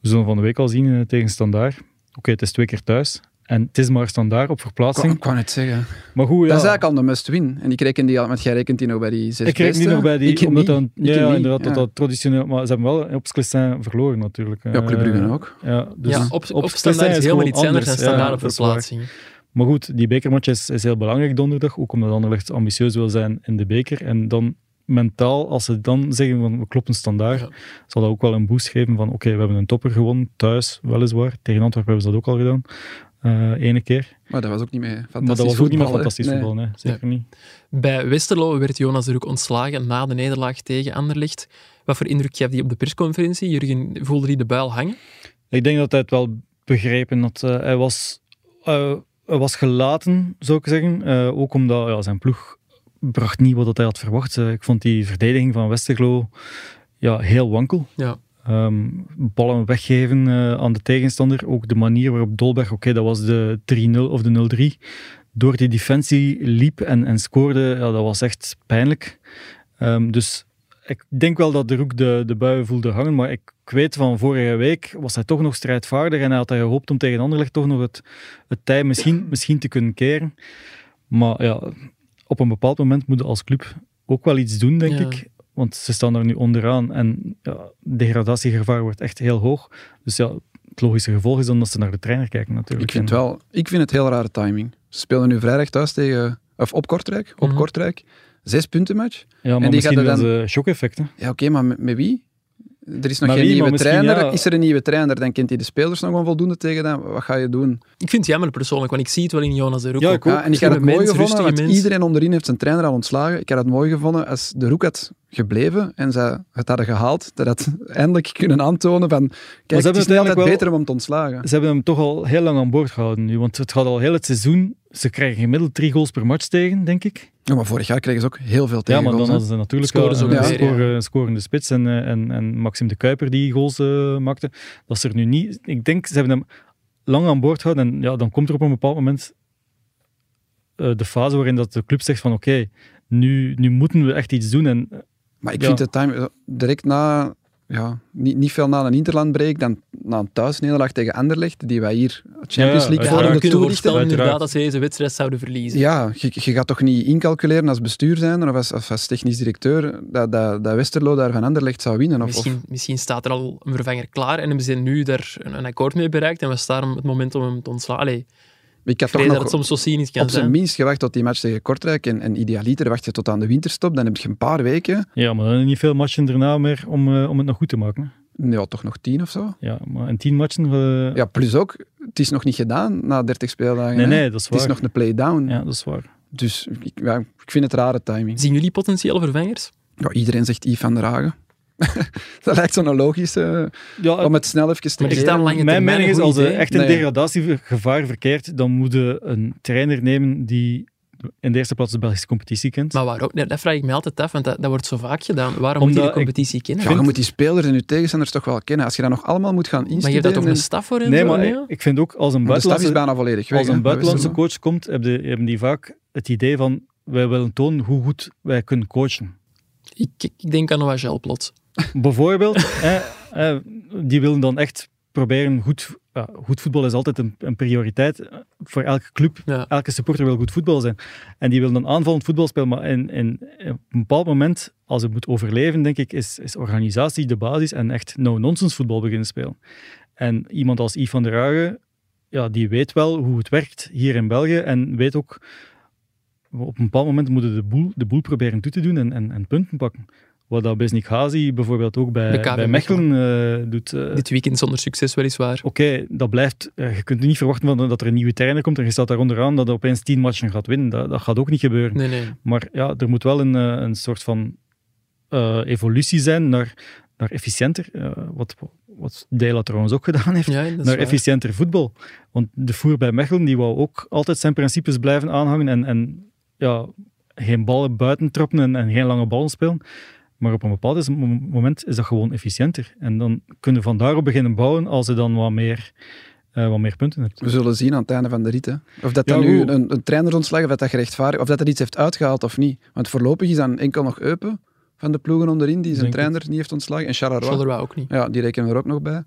Speaker 3: We zullen van de week al zien eh, tegen Standaard. Oké, het is twee keer thuis. En het is maar Standaard
Speaker 1: Ik
Speaker 3: op
Speaker 1: wou-
Speaker 3: verplaatsing.
Speaker 1: ik wou net zeggen.
Speaker 3: Maar goed, ja.
Speaker 1: Dat is eigenlijk al de must-win. En ik reken die al, want jij rekent die nog bij die zes
Speaker 3: ik kreeg niet
Speaker 1: beste.
Speaker 3: nog bij die,
Speaker 1: Ik ken
Speaker 3: omdat
Speaker 1: niet.
Speaker 3: dan,
Speaker 1: Ik
Speaker 3: ja,
Speaker 1: ken niet,
Speaker 3: inderdaad, dat
Speaker 1: ja.
Speaker 3: dat traditioneel, maar ze hebben wel op Sclessin verloren natuurlijk.
Speaker 1: Ja, Club Brugge
Speaker 3: Eh,
Speaker 1: ook.
Speaker 3: Ja, dus
Speaker 2: ja, op, op standaard is helemaal
Speaker 3: gewoon
Speaker 2: iets anders dan
Speaker 3: anders. Ja,
Speaker 2: standaard op
Speaker 3: dat is waar.
Speaker 2: verplaatsing.
Speaker 3: Maar goed, die bekermatch is, is heel belangrijk donderdag, ook omdat Anderlecht ambitieus wil zijn in de beker. En dan mentaal, als ze dan zeggen van we kloppen standaard,
Speaker 2: Ja.
Speaker 3: zal dat ook wel een boost geven van oké, we hebben een topper gewonnen, thuis weliswaar. Tegen Antwerpen hebben ze dat ook al gedaan, eh ene keer.
Speaker 1: Maar dat was ook niet meer fantastisch
Speaker 3: Maar dat was ook niet
Speaker 1: voetbal,
Speaker 3: meer
Speaker 1: hè.
Speaker 3: fantastisch
Speaker 1: Nee.
Speaker 3: voetbal, nee, zeker niet.
Speaker 2: Bij Westerlo werd Jonas er ook ontslagen na de nederlaag tegen Anderlecht. Wat voor indruk gaf die op de persconferentie? Jurgen, voelde hij de buil hangen?
Speaker 3: Ik denk dat hij het wel begrepen had. Eh, hij, was, eh, hij was gelaten, zou ik zeggen. Eh, ook omdat ja, zijn ploeg bracht niet wat dat hij had verwacht. Eh, ik vond die verdediging van Westerlo ja, heel wankel.
Speaker 2: Ja.
Speaker 3: Ehm, ballen weggeven eh, aan de tegenstander. Ook de manier waarop Dolberg, oké, dat was de 3-0 of de 0-3, door die defensie liep en, en scoorde. Ja, dat was echt pijnlijk. Ehm, dus ik denk wel dat er ook de, de buien voelde hangen. Maar ik, ik weet van vorige week was hij toch nog strijdvaardig. En hij had hij gehoopt om tegen Anderlecht toch nog het, het tij misschien, misschien te kunnen keren. Maar ja, op een bepaald moment moet je als club ook wel iets doen, denk
Speaker 2: Ja.
Speaker 3: ik. Want ze staan daar nu onderaan en ja, degradatiegevaar wordt echt heel hoog. Dus ja, het logische gevolg is dan dat ze naar de trainer kijken natuurlijk.
Speaker 1: Ik vind,
Speaker 3: En-
Speaker 1: wel, ik vind het heel rare timing. Ze spelen nu vrijdag thuis tegen, of op Kortrijk. Op
Speaker 2: Mhm.
Speaker 1: Kortrijk. Zes punten match.
Speaker 3: Ja, maar
Speaker 1: die
Speaker 3: misschien
Speaker 1: gaat er
Speaker 3: dan...
Speaker 1: dan-
Speaker 3: ze shock-effecten.
Speaker 1: Ja, oké, maar met, met wie? Er is nog
Speaker 3: Maar
Speaker 1: geen
Speaker 3: wie, maar
Speaker 1: nieuwe
Speaker 3: misschien,
Speaker 1: trainer.
Speaker 3: ja.
Speaker 1: Is er een nieuwe trainer, dan kent hij de spelers nog onvoldoende tegen. Dan. Wat ga je doen?
Speaker 2: Ik vind het jammer persoonlijk, want ik zie het wel in Jonas er ook.
Speaker 3: Ja,
Speaker 2: op.
Speaker 3: ik ook.
Speaker 1: Ja, en ik had het
Speaker 2: Slimme
Speaker 1: mooi
Speaker 2: mens,
Speaker 1: gevonden,
Speaker 2: rustige
Speaker 1: want
Speaker 2: mens.
Speaker 1: iedereen onderin heeft zijn trainer al ontslagen. Ik had het mooi gevonden als de Roek had gebleven en ze het hadden gehaald. Dat had eindelijk kunnen aantonen van, kijk, het
Speaker 3: hebben
Speaker 1: is niet altijd
Speaker 3: uiteindelijk wel-
Speaker 1: beter om hem te ontslagen.
Speaker 3: Ze hebben hem toch al heel lang aan boord gehouden nu, want het gaat al heel het seizoen. Ze krijgen gemiddeld drie goals per match tegen, denk ik.
Speaker 1: Ja, maar vorig jaar kregen ze ook heel veel
Speaker 3: Ja,
Speaker 1: tegen.
Speaker 3: maar dan hadden ze natuurlijk
Speaker 2: Scoren
Speaker 3: wel
Speaker 2: ze
Speaker 3: een,
Speaker 1: ook
Speaker 3: een
Speaker 1: weer,
Speaker 3: score- een scorende spits en, eh, en, en Maxim de Kuiper die goals eh, maakte. Dat is er nu niet. Ik denk, ze hebben hem lang aan boord gehouden en ja, dan komt er op een bepaald moment eh, de fase waarin dat de club zegt van oké, nu, nu moeten we echt iets doen. En eh,
Speaker 1: Maar ik
Speaker 3: Ja.
Speaker 1: vind de time direct na, ja, niet, niet veel na een Interlandbreak, dan na een thuisnederlaag tegen Anderlecht, die wij hier Champions League
Speaker 2: Ja,
Speaker 3: Ja,
Speaker 1: voor
Speaker 2: we
Speaker 1: hem
Speaker 3: uiteraard.
Speaker 2: kunnen
Speaker 1: toelichten.
Speaker 2: voorspellen inderdaad
Speaker 3: Uiteraard.
Speaker 2: dat ze deze wedstrijd zouden verliezen.
Speaker 1: Ja, je, je gaat toch niet incalculeren als bestuur zijn of als, of als technisch directeur dat, dat, dat Westerlo daar van Anderlecht zou winnen. Of, of,
Speaker 2: Misschien, misschien staat er al een vervanger klaar en hebben ze nu daar een, een akkoord mee bereikt en was daarom het moment om hem te ontslaan. Allee,
Speaker 1: ik had
Speaker 2: ik weet
Speaker 1: toch
Speaker 2: dat het
Speaker 1: nog
Speaker 2: soms zo cynisch kan
Speaker 1: op zijn
Speaker 2: zijn.
Speaker 1: minst gewacht tot die match tegen Kortrijk en, en idealiter wacht je tot aan de winterstop, dan heb je een paar weken,
Speaker 3: ja, maar dan zijn er niet veel matchen daarna meer om, eh, om het nog goed te maken. hè.
Speaker 1: ja, toch nog tien of zo.
Speaker 3: Ja, maar in tien matchen... eh,
Speaker 1: Ja, plus ook, het is nog niet gedaan na 30 speeldagen.
Speaker 3: nee,
Speaker 1: hè.
Speaker 3: nee, dat is
Speaker 1: Het
Speaker 3: waar.
Speaker 1: is nog een play-down.
Speaker 3: Ja, dat is waar.
Speaker 1: Dus ik, ja, ik vind het rare timing.
Speaker 2: Zien jullie potentiële vervangers?
Speaker 1: Ja, iedereen zegt Yves van der Hagen. dat lijkt zo'n logische,
Speaker 2: Oh,
Speaker 3: Ja,
Speaker 1: om het snel even te
Speaker 2: Maar die
Speaker 1: creëren.
Speaker 2: staan lange
Speaker 3: Mijn
Speaker 2: termijn
Speaker 3: mening
Speaker 2: een
Speaker 3: is,
Speaker 2: goed
Speaker 3: als je
Speaker 2: idee.
Speaker 3: echt in
Speaker 1: Nee.
Speaker 3: degradatiegevaar verkeert, dan moet je een trainer nemen die in de eerste plaats de Belgische competitie kent.
Speaker 2: Maar waarom? Nee, dat vraag ik me altijd af, want dat, dat wordt zo vaak gedaan. Waarom moet je de
Speaker 3: Omdat ik-
Speaker 2: competitie kennen?
Speaker 1: Ja, je moet die spelers en je tegenstanders toch wel kennen. Als je dat nog allemaal moet gaan
Speaker 2: maar je
Speaker 1: instuderen...
Speaker 2: hebt daar toch een staf voor? en
Speaker 3: nee,
Speaker 2: zo, Ah,
Speaker 3: maar
Speaker 2: nee?
Speaker 3: ik, ik vind ook als een
Speaker 1: Want de staf is
Speaker 3: buitenlandse,
Speaker 1: bijna volledig weg.
Speaker 3: als
Speaker 1: hè.
Speaker 3: een buitenlandse
Speaker 1: Dat wisten
Speaker 3: coach komt, hebben die, hebben die vaak het idee van wij willen tonen hoe goed wij kunnen coachen.
Speaker 2: ik, ik, ik denk aan Oagel plots.
Speaker 3: Bijvoorbeeld, hè, hè, Eh, die willen dan echt proberen goed... ja, goed voetbal is altijd een, een prioriteit eh, voor elke club.
Speaker 2: Ja.
Speaker 3: Elke supporter wil goed voetbal zijn. En die wil dan aanvallend voetbal spelen. Maar in, in, op een bepaald moment, als het moet overleven, denk ik, is, is organisatie de basis en echt no-nonsense voetbal beginnen spelen. En iemand als Yves van der Hagen, ja, die weet wel hoe het werkt hier in België en weet ook, op een bepaald moment moeten de boel, de boel proberen toe te doen en, en, en punten pakken. Wat dat Besnik Ghazi bijvoorbeeld ook bij,
Speaker 2: Bij KV
Speaker 3: bij Mechelen eh, doet. eh,
Speaker 2: Dit weekend zonder succes, weliswaar.
Speaker 3: Oké, dat blijft. eh, je kunt niet verwachten van, dat er een nieuwe trainer komt en je staat daar onderaan dat hij opeens tien matchen gaat winnen. Dat, dat gaat ook niet gebeuren.
Speaker 2: Nee, nee.
Speaker 3: Maar ja, er moet wel een, eh, een soort van eh, evolutie zijn naar, naar efficiënter. eh, wat, wat Dela trouwens ook gedaan heeft.
Speaker 2: Ja, dat is
Speaker 3: naar
Speaker 2: waar.
Speaker 3: efficiënter voetbal. Want de voer bij Mechelen die wou ook altijd zijn principes blijven aanhangen en, en ja, geen ballen buiten trappen en, en geen lange ballen spelen. Maar op een bepaald is- mom- moment is dat gewoon efficiënter. En dan kunnen we van daarop beginnen bouwen als ze dan wat meer, eh, wat meer punten hebt.
Speaker 1: We zullen zien aan het einde van de rit. hè. Of dat
Speaker 3: Ja,
Speaker 1: dan nu
Speaker 3: goed.
Speaker 1: een, een trainersontslag, of dat dat gerechtvaardigd, of dat er iets heeft uitgehaald of niet. Want voorlopig is dan enkel nog Eupen van de ploegen onderin, die zijn
Speaker 3: Denk het.
Speaker 1: trainer niet heeft ontslagen. En Charleroi.
Speaker 2: Charleroi ook niet.
Speaker 1: Ja, die rekenen we er ook nog bij.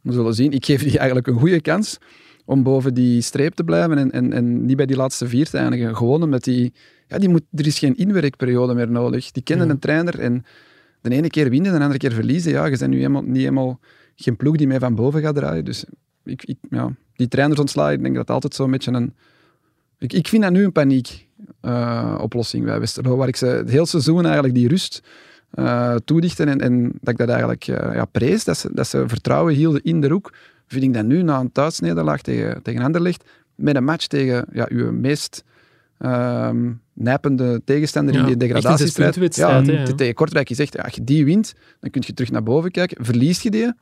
Speaker 1: We zullen zien. Ik geef die eigenlijk een goede kans om boven die streep te blijven en, en, en niet bij die laatste vier te eindigen. Gewoon omdat die... Ja, die moet, er is geen inwerkperiode meer nodig. Die kennen
Speaker 2: Ja.
Speaker 1: een trainer en de ene keer winnen, de andere keer verliezen. Ja, je bent nu helemaal, niet helemaal geen ploeg die mij van boven gaat draaien. Dus ik, ik, ja, die trainers ontslaan, ik denk dat altijd zo'n beetje een... Ik, ik vind dat nu een paniek eh, oplossing bij Westerlo, waar ik ze het heel seizoen eigenlijk die rust eh, toedichten en, en dat ik dat eigenlijk eh, ja, prees, dat ze, dat ze vertrouwen hielden in de roek, vind ik dat nu na een thuisnederlaag tegen, tegen Anderlecht, met een match tegen ja, uw meest ehm nijpende tegenstander
Speaker 2: Ja,
Speaker 1: in die
Speaker 2: echt een
Speaker 1: degradatiestrijd.
Speaker 2: zespuntwedstrijd, hè,
Speaker 1: te-
Speaker 2: ja.
Speaker 1: tegen Kortrijk is echt, ja, als je die wint, dan kun je terug naar boven kijken. Verliest je die,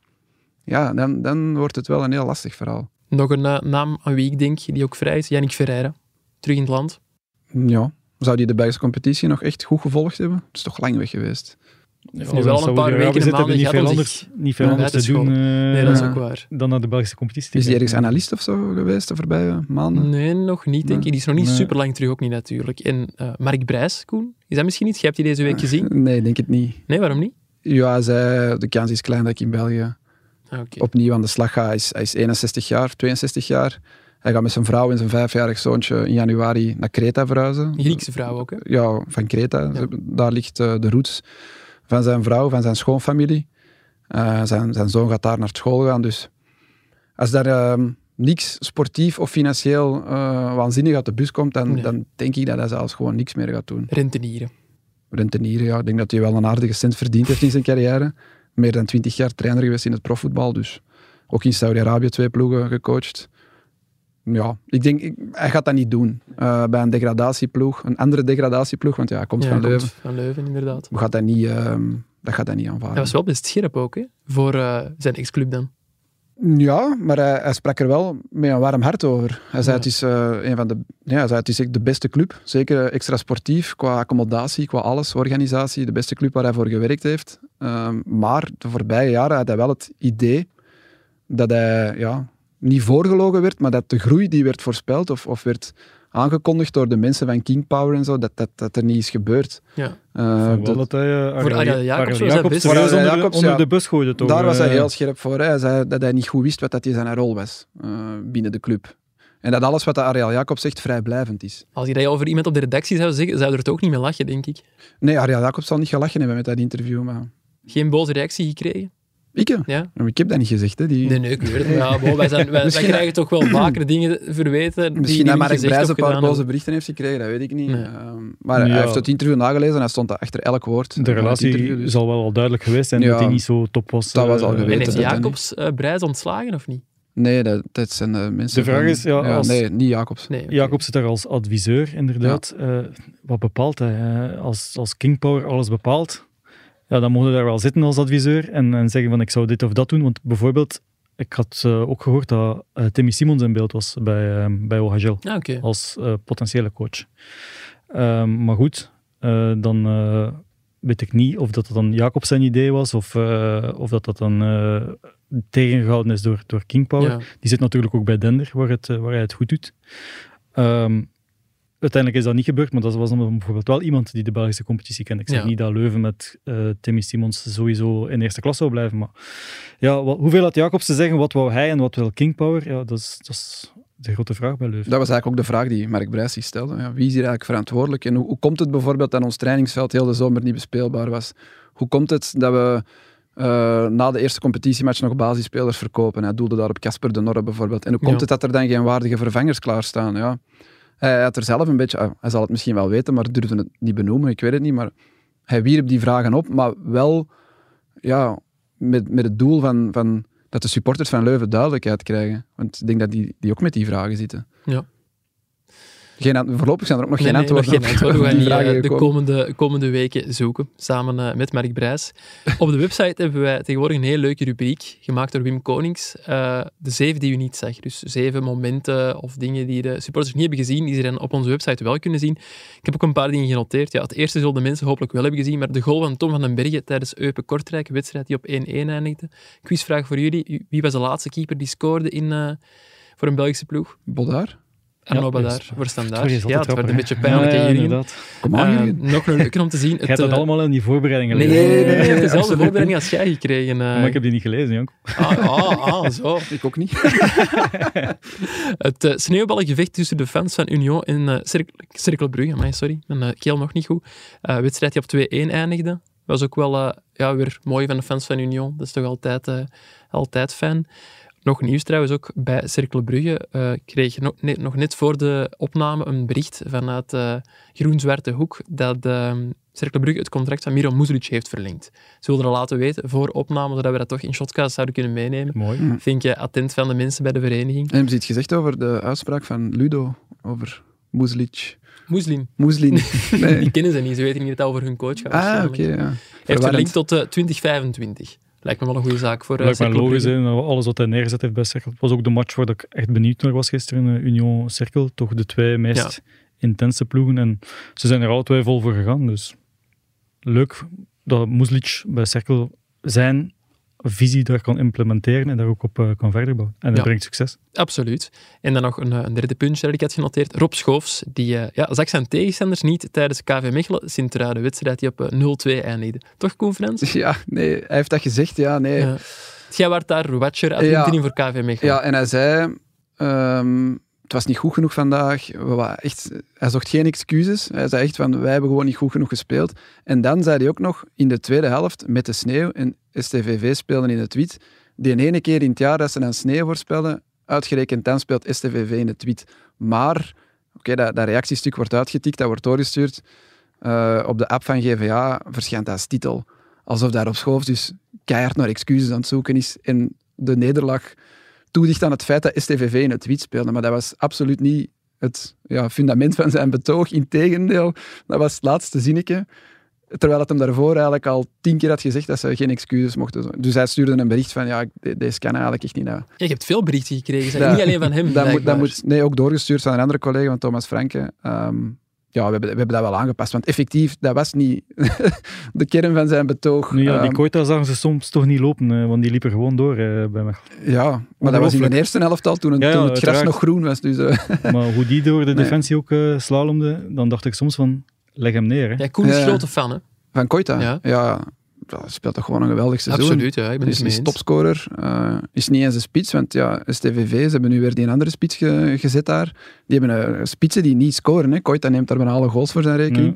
Speaker 1: ja, dan, dan wordt het wel een heel lastig verhaal.
Speaker 2: Nog een eh, naam aan wie ik denk, die ook vrij is. Yannick Ferreira. Terug in het land.
Speaker 1: Ja, zou die de Belgische competitie nog echt goed gevolgd hebben? Het is toch lang weg geweest.
Speaker 3: Ja,
Speaker 2: nu wel een paar weken en maanden
Speaker 3: niet
Speaker 2: gehad
Speaker 3: veel
Speaker 2: om
Speaker 3: anders,
Speaker 2: zich
Speaker 3: niet veel
Speaker 2: Ja,
Speaker 3: anders
Speaker 2: uit
Speaker 3: te
Speaker 2: te
Speaker 3: doen eh,
Speaker 2: Nee, dat is
Speaker 1: Ja.
Speaker 2: ook waar.
Speaker 3: dan naar de Belgische competitie. te
Speaker 1: Is die
Speaker 3: kijken.
Speaker 1: ergens analist of zo geweest de voorbije maanden?
Speaker 2: Nee, nog niet, denk ik. Die is nog niet
Speaker 3: Nee.
Speaker 2: super lang terug, ook niet natuurlijk. En eh, Mark Brijs, Koen, is dat misschien niet? Jij hebt die deze week gezien?
Speaker 1: Nee, denk het niet.
Speaker 2: Nee, waarom niet?
Speaker 1: Ja, zij, de kans is klein dat ik in België
Speaker 2: Ah, Oké.
Speaker 1: opnieuw aan de slag ga. Hij is, hij is 61 jaar, 62 jaar. Hij gaat met zijn vrouw en zijn vijfjarig zoontje in januari naar Kreta verhuizen.
Speaker 2: Een Griekse vrouw ook, hè?
Speaker 1: Ja, van Kreta. Ze- Daar ligt eh, de roots van zijn vrouw, van zijn schoonfamilie. Eh, zijn, zijn zoon gaat daar naar school gaan. Dus als daar ehm, niks sportief of financieel eh, waanzinnig uit de bus komt, dan,
Speaker 2: Nee.
Speaker 1: dan denk ik dat hij zelfs gewoon niks meer gaat doen
Speaker 2: Rentenieren.
Speaker 1: rentenieren. Ja, ik denk dat hij wel een aardige cent verdiend heeft in zijn carrière. Meer dan twintig jaar trainer geweest in het profvoetbal. Dus ook in Saudi-Arabië twee ploegen gecoacht. Ja, ik denk, ik- hij gaat dat niet doen. Eh, bij een degradatieploeg, een andere degradatieploeg, want ja, hij komt
Speaker 2: Ja,
Speaker 1: van
Speaker 2: komt
Speaker 1: Leuven.
Speaker 2: Van Leuven, inderdaad.
Speaker 1: We Gaat dat, niet, ehm, dat gaat dat niet aanvaarden.
Speaker 2: Hij was wel best scherp ook, hè? Voor eh, zijn ex-club dan.
Speaker 1: Ja, maar hij, hij sprak er wel met een warm hart over. Hij zei,
Speaker 2: Ja.
Speaker 1: het, is, eh, een van de, ja, hij zei het is echt de beste club. Zeker eh, extra sportief, qua accommodatie, qua alles, organisatie. De beste club waar hij voor gewerkt heeft. Ehm, maar de voorbije jaren had hij wel het idee dat hij ja, niet voorgelogen werd, maar dat de groei die werd voorspeld of, of werd aangekondigd door de mensen van King Power en zo, dat dat, dat er niet is gebeurd.
Speaker 2: Ja.
Speaker 1: Eh,
Speaker 3: Ik
Speaker 1: dat-
Speaker 3: vond wel dat hij, eh, Arjen-
Speaker 2: Arjen Jacobs
Speaker 3: Arjen
Speaker 2: was hij
Speaker 3: Jacobs
Speaker 2: best-
Speaker 3: serieus
Speaker 1: Arjen
Speaker 3: onder de-
Speaker 1: Jacobs,
Speaker 3: onder
Speaker 1: ja.
Speaker 3: de bus gooide. toch,
Speaker 1: Daar was hij
Speaker 3: eh.
Speaker 1: heel scherp voor. Hij zei dat hij niet goed wist wat dat hij zijn rol was eh, binnen de club. En dat alles wat de Ariel Jacobs zegt vrijblijvend is.
Speaker 2: Als je dat over iemand op de redactie zou zeggen, zou je er toch ook niet mee lachen, denk ik.
Speaker 1: Nee, Ariel Jacobs zal niet gelachen hebben met dat interview, maar...
Speaker 2: Geen boze reactie gekregen?
Speaker 1: Ik, hè?
Speaker 2: Ja?
Speaker 1: Maar ik heb dat niet gezegd, hè. Die...
Speaker 2: Nee, nee, ik weet het. Ja, wow, wij, zijn, wij, wij
Speaker 1: Misschien-
Speaker 2: krijgen toch wel vaker dingen verweten.
Speaker 1: Misschien
Speaker 2: die- die
Speaker 1: dat
Speaker 2: we niet
Speaker 1: Mark
Speaker 2: gezegd
Speaker 1: Brijs
Speaker 2: of
Speaker 1: een paar
Speaker 2: gedaan
Speaker 1: boze
Speaker 2: hebben.
Speaker 1: berichten heeft gekregen, dat weet ik niet.
Speaker 2: Nee.
Speaker 1: Ehm, maar
Speaker 3: Ja.
Speaker 1: hij heeft het interview nagelezen en hij stond achter elk woord. van
Speaker 3: De
Speaker 1: het
Speaker 3: relatie
Speaker 1: interview, dus-
Speaker 3: zal wel al duidelijk geweest zijn
Speaker 1: Ja.
Speaker 3: dat hij niet zo top was.
Speaker 1: Dat was al
Speaker 3: eh,
Speaker 1: geweten.
Speaker 2: En
Speaker 1: weet
Speaker 2: heeft
Speaker 1: het, hè,
Speaker 2: Jacobs eh Brijs ontslagen of niet?
Speaker 1: Nee, dat, dat zijn de mensen...
Speaker 3: De vraag
Speaker 1: van-
Speaker 3: is, ja, als-
Speaker 1: Nee, niet Jacobs.
Speaker 2: Nee. oké.
Speaker 3: Jacob zit daar als adviseur, inderdaad. Eh, wat bepaalt hij? eh? als, als King Power alles bepaalt, ja, dan mogen we daar wel zitten als adviseur en, en zeggen van ik zou dit of dat doen. Want bijvoorbeeld, ik had eh, ook gehoord dat eh, Timmy Simons in beeld was bij, eh bij OHL
Speaker 2: Ja, Ah, oké.
Speaker 3: als eh, potentiële coach. Ehm, maar goed, eh, dan eh, weet ik niet of dat dan Jacob zijn idee was of, eh, of dat dat dan eh, tegengehouden is door, door King Power.
Speaker 2: Ja.
Speaker 3: Die zit natuurlijk ook bij Dender, waar, het, eh, waar hij het goed doet. Ehm, uiteindelijk is dat niet gebeurd, maar dat was dan bijvoorbeeld wel iemand die de Belgische competitie kent. Ik zeg
Speaker 2: Ja.
Speaker 3: niet dat Leuven met eh, Timmy Simons sowieso in eerste klas zou blijven, maar ja, wat, hoeveel had Jacobs te zeggen? Wat wou hij en wat wil King Power? Ja, dat is, dat is de grote vraag bij Leuven.
Speaker 1: Dat was eigenlijk ook de vraag die Mark Brijs stelde. Ja, wie is hier eigenlijk verantwoordelijk? En hoe, hoe komt het bijvoorbeeld dat ons trainingsveld heel de zomer niet bespeelbaar was? Hoe komt het dat we eh, na de eerste competitiematch nog basisspelers verkopen? Hij doelde daar op Casper de Norre bijvoorbeeld. En hoe komt
Speaker 2: Ja.
Speaker 1: het dat er dan geen waardige vervangers klaarstaan? Ja. Hij had er zelf een beetje... ah, hij zal het misschien wel weten, maar durfde het niet benoemen. Ik weet het niet, maar hij wierp die vragen op, maar wel ja, met, met het doel van, van dat de supporters van Leuven duidelijkheid krijgen. Want ik denk dat die, die ook met die vragen zitten.
Speaker 2: Ja.
Speaker 1: Geen, ant- voorlopig zijn er ook nog
Speaker 2: Nee,
Speaker 1: geen
Speaker 2: nee,
Speaker 1: antwoorden
Speaker 2: nog geen
Speaker 1: op-
Speaker 2: antwoorden.
Speaker 1: op die
Speaker 2: We gaan die,
Speaker 1: vragen
Speaker 2: eh, de
Speaker 1: gekomen.
Speaker 2: komende, komende weken zoeken, samen eh, met Mark Brijs. Op de website hebben wij tegenwoordig een heel leuke rubriek, gemaakt door Wim Konings. eh, de zeven die u niet zag. Dus zeven momenten of dingen die de supporters niet hebben gezien, die ze dan op onze website wel kunnen zien. Ik heb ook een paar dingen genoteerd. Ja, het eerste zullen de mensen hopelijk wel hebben gezien, maar de goal van Tom van den Bergen tijdens Eupen-Kortrijk, een wedstrijd die op 1-1 eindigde. Quizvraag voor jullie. U- Wie was de laatste keeper die scoorde in, eh, voor een Belgische ploeg?
Speaker 1: Bodaar?
Speaker 2: Arno
Speaker 3: Ja,
Speaker 2: Badaar,
Speaker 3: juist.
Speaker 2: voor standaard.
Speaker 3: Sorry, is
Speaker 2: Ja,
Speaker 3: altijd
Speaker 2: het
Speaker 3: grappig,
Speaker 2: werd een
Speaker 3: hè?
Speaker 2: beetje pijnlijk,
Speaker 3: Ja,
Speaker 2: hè,
Speaker 3: ja,
Speaker 2: Jurgen?
Speaker 3: inderdaad.
Speaker 1: Kom aan,
Speaker 2: Eh,
Speaker 1: Jurgen.
Speaker 2: nog een leuker om te zien.
Speaker 3: Je hebt dat allemaal in die voorbereiding
Speaker 2: eh, Nee,
Speaker 3: gelezen.
Speaker 2: nee, nee, nee,
Speaker 1: nee,
Speaker 2: ik heb dezelfde
Speaker 1: absoluut
Speaker 2: voorbereiding als jij gekregen. eh.
Speaker 3: Maar ik heb die niet gelezen, Janko.
Speaker 2: ah, ah, ah, zo.
Speaker 1: Ik ook niet.
Speaker 2: Het eh, sneeuwballengevecht tussen de fans van Union en eh, Cirk- Cirkel Brugge. Amai, sorry, mijn eh, keel nog niet goed. Eh, wedstrijd die op 2-1 eindigde. Was ook wel eh, ja, weer mooi van de fans van Union. Dat is toch altijd, eh, altijd fijn. Nog nieuws trouwens, ook bij Cirkel Brugge eh, kreeg nog, net, nog net voor de opname een bericht vanuit eh Groen-Zwarte Hoek dat eh, Cirkel Brugge het contract van Miro Muzlic heeft verlengd. Ze wilden dat laten weten voor opname, zodat we dat toch in shotcast zouden kunnen meenemen.
Speaker 3: Mooi.
Speaker 2: Vind je attent van de mensen bij de vereniging?
Speaker 1: En hebben ze iets gezegd over de uitspraak van Ludo? Over Moeslic?
Speaker 2: Moeslim.
Speaker 1: Moeslin?
Speaker 2: Die
Speaker 1: Nee.
Speaker 2: kennen ze niet, ze weten niet dat het over hun coach gaat.
Speaker 1: Eh. Ah, oké,
Speaker 2: waarschijnlijk.
Speaker 1: ja.
Speaker 2: Heeft
Speaker 1: Verwarrend.
Speaker 2: verlinkt tot eh, 2025. Lijkt me wel een goede zaak voor eh,
Speaker 3: Lijkt mij
Speaker 2: Cercle
Speaker 3: logisch,
Speaker 2: Brugge.
Speaker 3: hè. Nou, alles wat hij neergezet heeft bij Cirkel. Het was ook de match waar ik echt benieuwd naar was gisteren, eh, Union Cirkel. Toch de twee meest intense ploegen. En ze zijn er alle twee vol voor gegaan. Dus leuk dat Muslic bij Cirkel zijn visie daar kan implementeren en daar ook op eh, kan verder bouwen. En dat
Speaker 2: Ja.
Speaker 3: brengt succes.
Speaker 2: Absoluut. En dan nog een, eh, een derde puntje dat ik had genoteerd. Rob Schoofs, die eh, ja, zag zijn tegenstanders niet tijdens KV Mechelen Sint-Truiden, wedstrijd die op eh, 0-2 eindigde. Toch, Koen Frans?
Speaker 1: Ja, nee, hij heeft dat gezegd, ja, nee.
Speaker 2: Ja. Jij werd daar watcher uit
Speaker 1: Ja.
Speaker 2: LinkedIn voor KV Mechelen.
Speaker 1: Ja, en hij zei: ehm, Het was niet goed genoeg vandaag. We waren echt, hij zocht geen excuses. Hij zei echt: van, Wij hebben gewoon niet goed genoeg gespeeld. En dan zei hij ook nog in de tweede helft met de sneeuw. En STVV speelde in het wit. Die ene keer in het jaar dat ze dan sneeuw voorspellen, uitgerekend dan speelt STVV in het wit. Maar, oké, dat, dat reactiestuk wordt uitgetikt, dat wordt doorgestuurd. Eh, op de app van GVA verschijnt dat als titel. Alsof daar op Schoofs dus keihard naar excuses aan het zoeken is. En de nederlaag toedicht aan het feit dat STVV in het wit speelde. Maar dat was absoluut niet het ja, fundament van zijn betoog. Integendeel, dat was het laatste zinnetje. Terwijl het hem daarvoor eigenlijk al tien keer had gezegd dat ze geen excuses mochten. doen. Dus hij stuurde een bericht van, ja, ik- de- deze kan eigenlijk echt niet. naar.
Speaker 2: Je hebt veel berichten gekregen, zeg.
Speaker 1: Ja.
Speaker 2: niet alleen van
Speaker 1: Dat
Speaker 2: hem.
Speaker 1: moet, dat
Speaker 2: blijkbaar.
Speaker 1: moet, nee, ook doorgestuurd van een andere collega, van Thomas Franke. Ehm, ja, we hebben, we hebben dat wel aangepast. Want effectief, dat was niet de kern van zijn betoog.
Speaker 3: Nu, ja, die
Speaker 1: Ehm,
Speaker 3: Koita zagen ze soms toch niet lopen, eh, want die liepen gewoon door eh, bij mij.
Speaker 1: ja, maar dat was in de
Speaker 3: Ongelooflijk.
Speaker 1: eerste helft al, toen, het-
Speaker 3: Ja, ja,
Speaker 1: toen het gras
Speaker 3: uiteraard.
Speaker 1: nog groen was. Dus, eh,
Speaker 3: Maar hoe die door de
Speaker 1: Nee.
Speaker 3: defensie ook eh slalomde, dan dacht ik soms van, leg hem neer. Hè.
Speaker 2: Ja, Koen is
Speaker 1: Ja.
Speaker 2: grote fan, hè?
Speaker 1: Van Koita?
Speaker 2: Ja.
Speaker 1: Ja. dat speelt toch gewoon een geweldig seizoen.
Speaker 2: Absoluut, ja. Ik ben het
Speaker 1: Is,
Speaker 2: mee
Speaker 1: is
Speaker 2: eens.
Speaker 1: topscorer, eh, is niet eens een spits, want ja, STVV, ze hebben nu weer die andere spits ge- gezet daar. Die hebben eh, spitsen die niet scoren. Hè. Koita neemt daar bijna alle goals voor zijn
Speaker 3: Ja.
Speaker 1: rekening.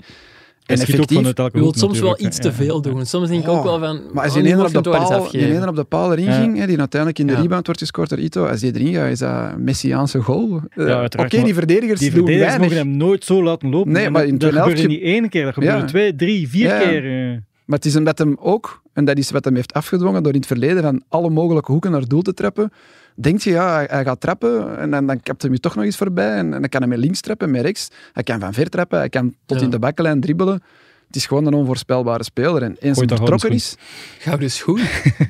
Speaker 3: Hij
Speaker 1: En
Speaker 3: schiet ook
Speaker 1: effectief,
Speaker 3: vanuit elke
Speaker 2: Je
Speaker 3: hoek
Speaker 2: wilt soms wel
Speaker 3: natuurlijk, hè.
Speaker 2: iets te
Speaker 3: Ja,
Speaker 2: veel
Speaker 3: ja.
Speaker 2: doen. Soms denk ik
Speaker 1: Oh,
Speaker 2: ook wel van...
Speaker 1: Maar als
Speaker 2: oh,
Speaker 1: die
Speaker 2: nu
Speaker 1: ene
Speaker 2: mag
Speaker 1: op,
Speaker 2: je
Speaker 1: de
Speaker 2: hem toch wel eens
Speaker 1: paal- die
Speaker 2: afgeven.
Speaker 1: ene op de paal erin
Speaker 3: Ja.
Speaker 1: ging, hè, die uiteindelijk in de
Speaker 2: Ja.
Speaker 1: rebound wordt gescoord door Ito, als die erin gaat, is dat Messiaanse goal. Eh,
Speaker 3: Ja, uiteraard,
Speaker 1: Oké, die
Speaker 3: maar
Speaker 1: verdedigers
Speaker 3: Die
Speaker 1: doen
Speaker 3: verdedigers mogen
Speaker 1: weinig.
Speaker 3: hem nooit zo laten lopen.
Speaker 1: Nee,
Speaker 3: En
Speaker 1: maar in
Speaker 3: dat
Speaker 1: tweede helft
Speaker 3: gebeurde niet één keer, dat gebeurde
Speaker 1: Ja.
Speaker 3: twee, drie, vier
Speaker 1: Ja.
Speaker 3: keer. eh.
Speaker 1: Maar het is omdat hem ook, en dat is wat hem heeft afgedwongen door in het verleden van alle mogelijke hoeken naar doel te trappen, denkt je, ja, hij- hij gaat trappen en dan, dan kapt hij je toch nog eens voorbij en, en dan kan hij met links trappen, met rechts. Hij kan van ver trappen, hij kan tot
Speaker 2: Ja.
Speaker 1: in de bakkenlijn dribbelen. Het is gewoon een onvoorspelbare speler. En eens hij
Speaker 3: dat
Speaker 1: vertrokken
Speaker 3: gouden
Speaker 1: is,
Speaker 2: Gouden schoen.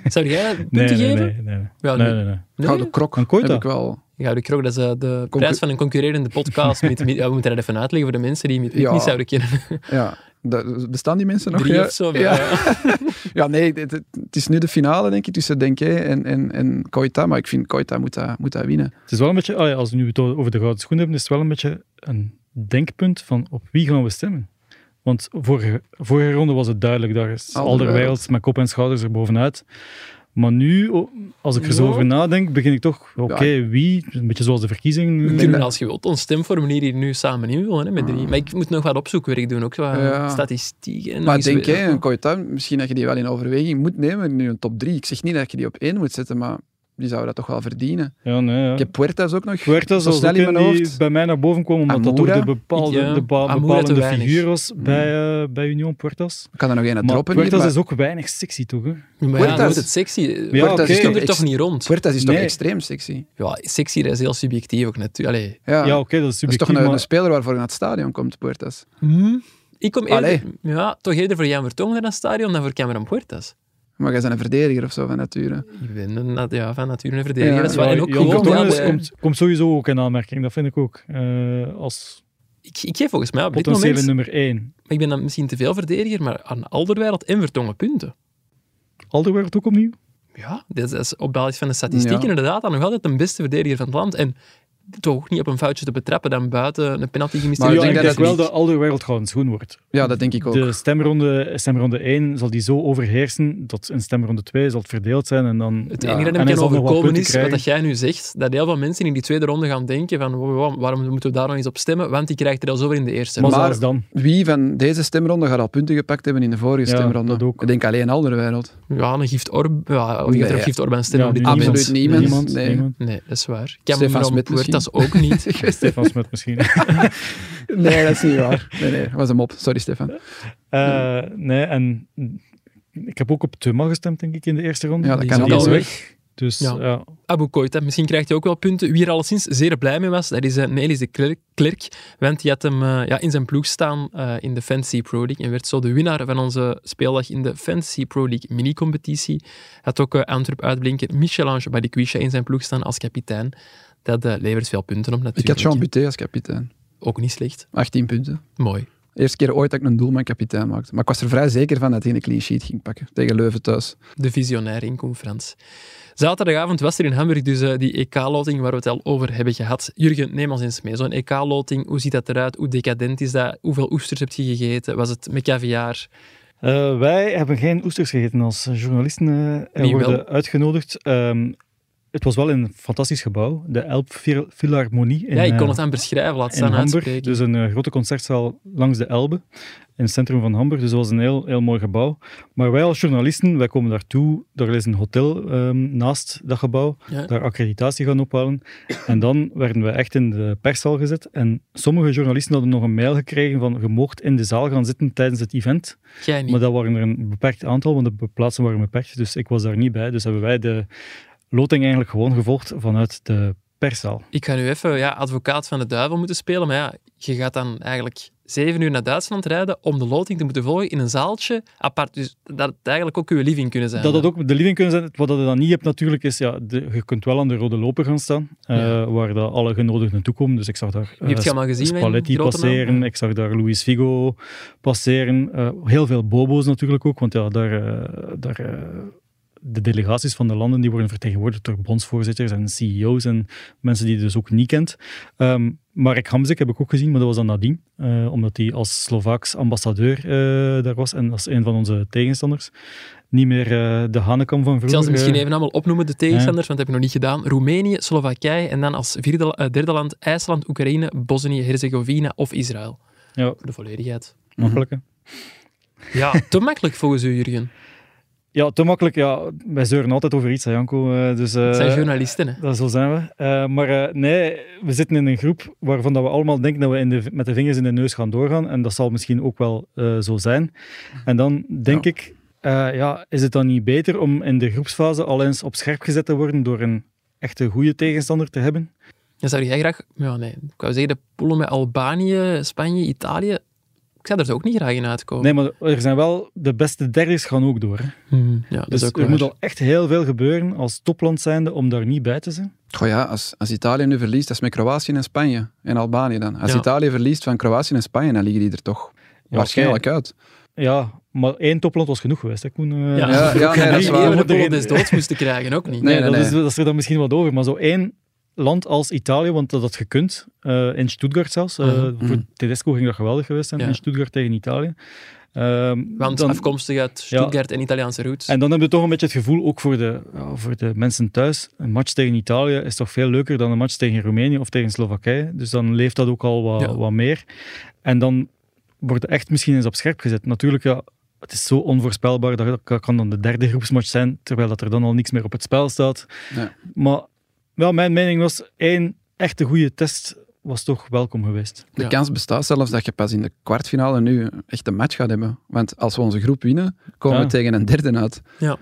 Speaker 2: Zou jij punten
Speaker 3: Nee, nee,
Speaker 2: geven?
Speaker 3: nee. nee, nee.
Speaker 2: Wel,
Speaker 3: Nee,
Speaker 2: nee.
Speaker 3: nee, nee.
Speaker 2: Nee?
Speaker 1: gouden krok,
Speaker 3: Een Koita.
Speaker 1: heb ik wel.
Speaker 2: Gouden Krok, dat is eh, de prijs van een concurrerende podcast. met, met- ja, we moeten dat even uitleggen voor de mensen die het
Speaker 1: Ja.
Speaker 2: niet zouden kennen.
Speaker 1: Ja, dat- bestaan die mensen nog?
Speaker 2: Drie
Speaker 1: ja?
Speaker 2: of zo. maar,
Speaker 1: Ja.
Speaker 2: eh,
Speaker 1: Ja, nee, dit- dit- het is nu de finale, denk ik, tussen Denké en, en, en Koita. Maar ik vind Koita moet dat, moet dat winnen.
Speaker 3: Het is wel een beetje, allee, als we nu het over de gouden schoen hebben, is het wel een beetje een denkpunt van op wie gaan we stemmen. Want vorige, vorige ronde was het duidelijk, daar is
Speaker 1: Alderweireld.
Speaker 3: Alderweireld met kop en schouders er bovenuit. Maar nu, o- als ik er zo
Speaker 2: Ja.
Speaker 3: over nadenk, begin ik toch, oké, wie? Een beetje zoals de verkiezing.
Speaker 2: we
Speaker 1: denk
Speaker 2: kunnen
Speaker 1: dat-
Speaker 2: als je wilt ons stemformulier hier nu samen invullen hè, met drie. Maar ik moet nog wat opzoekwerk doen, ook wat
Speaker 1: Ah. Ja.
Speaker 2: statistieken. nog
Speaker 1: Maar
Speaker 2: eens
Speaker 1: Denké
Speaker 2: weer-
Speaker 1: en Koita, misschien dat je die wel in overweging moet nemen. Nu een top 3. Ik zeg niet dat je die op 1 moet zetten, maar die zouden dat toch wel verdienen.
Speaker 3: Ja, nee, ja.
Speaker 1: Ik heb Puertas ook nog.
Speaker 3: Huertas
Speaker 1: zo
Speaker 3: was
Speaker 1: snel
Speaker 3: ook
Speaker 1: in mijn
Speaker 3: een die
Speaker 1: hoofd.
Speaker 3: bij mij naar boven kwam, omdat dat
Speaker 1: Amoura?
Speaker 3: ook de bepaalde,
Speaker 2: Ja,
Speaker 3: de ba-
Speaker 2: Amoura te
Speaker 3: bepalende
Speaker 2: weinig.
Speaker 3: figuur was bij, eh, bij Union Puertas.
Speaker 1: Ik kan er nog één
Speaker 3: Maar
Speaker 1: droppen hier,
Speaker 3: Puertas
Speaker 1: maar
Speaker 3: is ook weinig sexy, toch? Hè?
Speaker 2: Maar ja,
Speaker 1: Puertas.
Speaker 2: dan wordt het sexy.
Speaker 3: Ja,
Speaker 2: Puertas
Speaker 3: oké.
Speaker 2: is toch er
Speaker 1: Ex-
Speaker 2: toch niet rond.
Speaker 1: Puertas is toch
Speaker 3: Nee.
Speaker 1: extreem sexy?
Speaker 2: Ja, sexy dat is heel subjectief ook natuurlijk. Allee.
Speaker 1: Ja,
Speaker 3: Ja, oké, dat is
Speaker 1: dat is
Speaker 3: subjectief,
Speaker 1: toch een,
Speaker 3: maar-
Speaker 1: een speler waarvoor je naar het stadion komt, Puertas.
Speaker 2: Hmm. Ik kom
Speaker 1: Hm? Allee.
Speaker 2: eerder, ja, toch eerder voor Jan Vertonghen naar het stadion dan voor Cameron Puertas.
Speaker 1: Maar jij bent een verdediger of zo van nature.
Speaker 2: Ik ben een, nat- ja, van nature een verdediger.
Speaker 1: Ja,
Speaker 2: dat is waar.
Speaker 3: Ja,
Speaker 2: en ook
Speaker 3: Jan
Speaker 2: gewoon,
Speaker 3: Vertonghen
Speaker 2: ja,
Speaker 3: is-
Speaker 2: de-
Speaker 3: komt, komt sowieso ook in aanmerking, dat vind ik ook. Eh, als
Speaker 2: ik, ik geef volgens mij op dit
Speaker 3: potentiële
Speaker 2: moment, maar
Speaker 3: nummer 1.
Speaker 2: ik ben dan misschien te veel verdediger, maar aan Alderwijld en Vertongen punten.
Speaker 3: Alderweireld ook opnieuw.
Speaker 2: Ja, dat is op basis van de statistieken
Speaker 1: Ja.
Speaker 2: inderdaad dan nog altijd de beste verdediger van het land. En toch niet op een foutje te betrappen dan buiten een penalty gemist.
Speaker 1: Maar
Speaker 2: in
Speaker 1: ik
Speaker 3: ja,
Speaker 2: de
Speaker 1: denk
Speaker 3: ik
Speaker 1: dat
Speaker 3: denk
Speaker 1: het
Speaker 3: wel
Speaker 1: niet-
Speaker 3: dat Alderweireld gewoon schoen wordt.
Speaker 1: Ja, dat denk ik ook.
Speaker 3: De stemronde, stemronde 1 zal die zo overheersen, dat in stemronde 2 zal het verdeeld zijn en dan...
Speaker 2: Het
Speaker 1: Ja,
Speaker 2: enige dat
Speaker 3: en
Speaker 2: me
Speaker 3: hij
Speaker 2: kan
Speaker 3: zal nog wat
Speaker 2: overkomen
Speaker 3: punten
Speaker 2: is, wat
Speaker 3: krijgen.
Speaker 2: dat jij nu zegt, dat heel veel mensen in die tweede ronde gaan denken van wow, wow, waarom moeten we daar nog eens op stemmen, want die krijgt er al zoveel in de eerste
Speaker 3: maar
Speaker 2: ronde.
Speaker 3: zelfs dan.
Speaker 1: Wie van deze stemronde gaat al punten gepakt hebben in de vorige
Speaker 3: Ja,
Speaker 1: stemronde?
Speaker 3: dat ook.
Speaker 1: Ik denk alleen Alderwereld.
Speaker 2: Ja, een gift Orb, ja, wie gaat er
Speaker 1: Nee.
Speaker 2: op gift Orb aan stemmen?
Speaker 3: Ja,
Speaker 2: op dit
Speaker 3: nu
Speaker 2: moment?
Speaker 1: Absoluut niemand.
Speaker 3: Niemand,
Speaker 1: Nee.
Speaker 3: niemand.
Speaker 2: Nee, dat is waar.
Speaker 1: Stefan
Speaker 2: Cameron
Speaker 1: Smit
Speaker 2: Puertas ook niet.
Speaker 3: Stefan Smet misschien.
Speaker 1: Nee, dat is niet waar. Nee, nee, dat was een mop. Sorry, Stefan.
Speaker 3: Eh, nee, en ik heb ook op Tuma gestemd, denk ik, in de eerste ronde.
Speaker 1: Ja, dat
Speaker 3: die
Speaker 1: kan
Speaker 3: zat
Speaker 1: ook
Speaker 3: al
Speaker 1: wel.
Speaker 3: weg. Dus
Speaker 2: Ja.
Speaker 3: ja.
Speaker 2: Abu Koita, misschien krijgt hij ook wel punten. Wie er alleszins zeer blij mee was, dat is eh, Nelis de Klerk, Klerk, want die had hem eh, ja, in zijn ploeg staan eh, in de Fantasy Pro League en werd zo de winnaar van onze speeldag in de Fantasy Pro League mini-competitie. Had ook eh, Antwerp uitblinken Michelange Badikwisha in zijn ploeg staan als kapitein. Dat eh, levert veel punten op
Speaker 1: Ik
Speaker 2: natuurlijk.
Speaker 1: had Jean Buté als kapitein.
Speaker 2: Ook niet slecht.
Speaker 1: 18 punten.
Speaker 2: Mooi.
Speaker 1: Eerste keer ooit dat ik een doelman kapitein maakte. Maar ik was er vrij zeker van dat hij een clean sheet ging pakken. Tegen Leuven thuis.
Speaker 2: de visionair in conference. Zaterdagavond was er in Hamburg dus eh, die EK-loting waar we het al over hebben gehad. Jurgen, neem ons eens mee. Zo'n EK-loting, hoe ziet dat eruit? Hoe decadent is dat? Hoeveel oesters heb je gegeten? Was het met caviar?
Speaker 3: Eh, wij hebben geen oesters gegeten als journalisten eh
Speaker 2: Wie
Speaker 3: en
Speaker 2: wel?
Speaker 3: worden uitgenodigd. Ehm, het was wel een fantastisch gebouw, de Elb Phil- Philharmonie in,
Speaker 2: ja, ik
Speaker 3: eh,
Speaker 2: kon het aan beschrijven, laat
Speaker 3: in
Speaker 2: staan
Speaker 3: Hamburg.
Speaker 2: uitspreken.
Speaker 3: Dus een eh, grote concertzaal langs de Elbe, in het centrum van Hamburg. Dus dat was een heel, heel mooi gebouw. Maar wij als journalisten, wij komen daartoe. Er is een hotel ehm, naast dat gebouw.
Speaker 2: Ja.
Speaker 3: Daar accreditatie gaan ophalen. En dan werden we echt in de perszaal gezet. En sommige journalisten hadden nog een mail gekregen van je moogt in de zaal gaan zitten tijdens het event.
Speaker 2: Jij niet.
Speaker 3: dus- Maar dat waren er een beperkt aantal, want de be- plaatsen waren beperkt. Dus ik was daar niet bij. Dus hebben wij de loting eigenlijk gewoon gevolgd vanuit de perszaal.
Speaker 2: Ik ga nu even ja, advocaat van de duivel moeten spelen, maar ja, je gaat dan eigenlijk zeven uur naar Duitsland rijden om de loting te moeten volgen in een zaaltje apart. Dus dat het eigenlijk ook je living kunnen zijn.
Speaker 3: Dat dat ook de living kunnen zijn. Wat dat je dan niet hebt natuurlijk is, ja, de- je kunt wel aan de rode loper gaan staan, eh,
Speaker 2: Ja.
Speaker 3: waar dat alle genodigden toekomen. Dus ik zag daar
Speaker 2: Wie heeft je
Speaker 3: eh,
Speaker 2: allemaal gezien? mijn
Speaker 3: Spalletti
Speaker 2: grote naam?
Speaker 3: passeren, ik zag daar Luis Figo passeren. eh, heel veel Bobo's natuurlijk ook, want ja, daar, eh, daar, eh, de delegaties van de landen die worden vertegenwoordigd door bondsvoorzitters en CEO's en mensen die je dus ook niet kent. Ehm Marek Hamzik heb ik ook gezien, maar dat was dan nadien, eh, omdat hij als Slovaaks ambassadeur eh, daar was en als een van onze tegenstanders. Niet meer eh, de Hanekam van
Speaker 2: Ik zal ze
Speaker 3: vroeger.
Speaker 2: misschien
Speaker 3: eh,
Speaker 2: even allemaal opnoemen, de tegenstanders, want dat heb je nog niet gedaan. Roemenië, Slowakije en dan als vierde, eh, derde land IJsland, Oekraïne, Bosnië, Herzegovina of Israël.
Speaker 3: Ja,
Speaker 2: Voor de volledigheid.
Speaker 3: makkelijk. hè.
Speaker 2: Ja, te makkelijk volgens u, Jurgen.
Speaker 3: Ja, te makkelijk. Ja, wij zeuren altijd over iets, hè, Janko. eh, dus,
Speaker 2: Het zijn
Speaker 3: eh,
Speaker 2: journalisten, hè.
Speaker 3: Dat, zo zijn we. Eh, maar eh, nee, we zitten in een groep waarvan dat we allemaal denken dat we in de, met de vingers in de neus gaan doorgaan. En dat zal misschien ook wel eh, zo zijn. En dan denk
Speaker 1: Ja.
Speaker 3: ik, eh, ja, is het dan niet beter om in de groepsfase al eens op scherp gezet te worden door een echte goede tegenstander te hebben?
Speaker 2: Dan zou jij graag... Ja, nee. Ik wou zeggen, de poelen met Albanië, Spanje, Italië... ik zou er dus ook niet graag in uitkomen.
Speaker 3: Nee, maar er zijn wel... De beste derdes gaan ook door. hè.
Speaker 2: Hmm, ja, dat
Speaker 3: Dus
Speaker 2: is ook
Speaker 3: er
Speaker 2: waar.
Speaker 3: moet al echt heel veel gebeuren als topland zijnde om daar niet bij te zijn.
Speaker 1: Goh ja, als, als Italië nu verliest, dat is met Kroatië en Spanje en Albanië dan. Als
Speaker 2: Ja.
Speaker 1: Italië verliest van Kroatië en Spanje, dan liggen die er toch waarschijnlijk uit.
Speaker 3: Ja, maar één topland was genoeg geweest, hè, Koen? Eh,
Speaker 1: Ja, ja,
Speaker 2: Ook
Speaker 1: nee,
Speaker 2: geen
Speaker 1: dat is waar.
Speaker 2: idee waar
Speaker 1: We
Speaker 2: de
Speaker 3: moeten
Speaker 2: Polen
Speaker 3: erin.
Speaker 2: des doods moesten krijgen, ook niet.
Speaker 1: Nee,
Speaker 3: Nee,
Speaker 1: nee,
Speaker 3: dat,
Speaker 1: nee.
Speaker 3: Is, dat is er dan misschien wat over. Maar zo één land als Italië, want dat had gekund, eh, in Stuttgart zelfs. eh,
Speaker 2: Mhm.
Speaker 3: Voor Tedesco ging dat geweldig geweest zijn,
Speaker 2: Ja.
Speaker 3: in Stuttgart tegen Italië. Ehm,
Speaker 2: Want
Speaker 3: dan-
Speaker 2: afkomstig uit Stuttgart en Italiaanse roots.
Speaker 3: en dan heb je toch een beetje het gevoel, ook voor de, ja, voor de mensen thuis, een match tegen Italië is toch veel leuker dan een match tegen Roemenië of tegen Slowakije. Dus dan leeft dat ook al wat,
Speaker 2: Ja.
Speaker 3: wat meer. En dan wordt het echt misschien eens op scherp gezet. Natuurlijk, ja, het is zo onvoorspelbaar, dat dat kan dan de derde groepsmatch zijn, terwijl dat er dan al niks meer op het spel staat.
Speaker 1: Ja.
Speaker 3: Maar wel, mijn mening was, één echte goede test was toch welkom geweest.
Speaker 1: De
Speaker 2: Ja.
Speaker 1: kans bestaat zelfs dat je pas in de kwartfinale nu echt een match gaat hebben. Want als we onze groep winnen, komen
Speaker 3: Ja.
Speaker 1: we tegen een derde uit.
Speaker 2: Ja.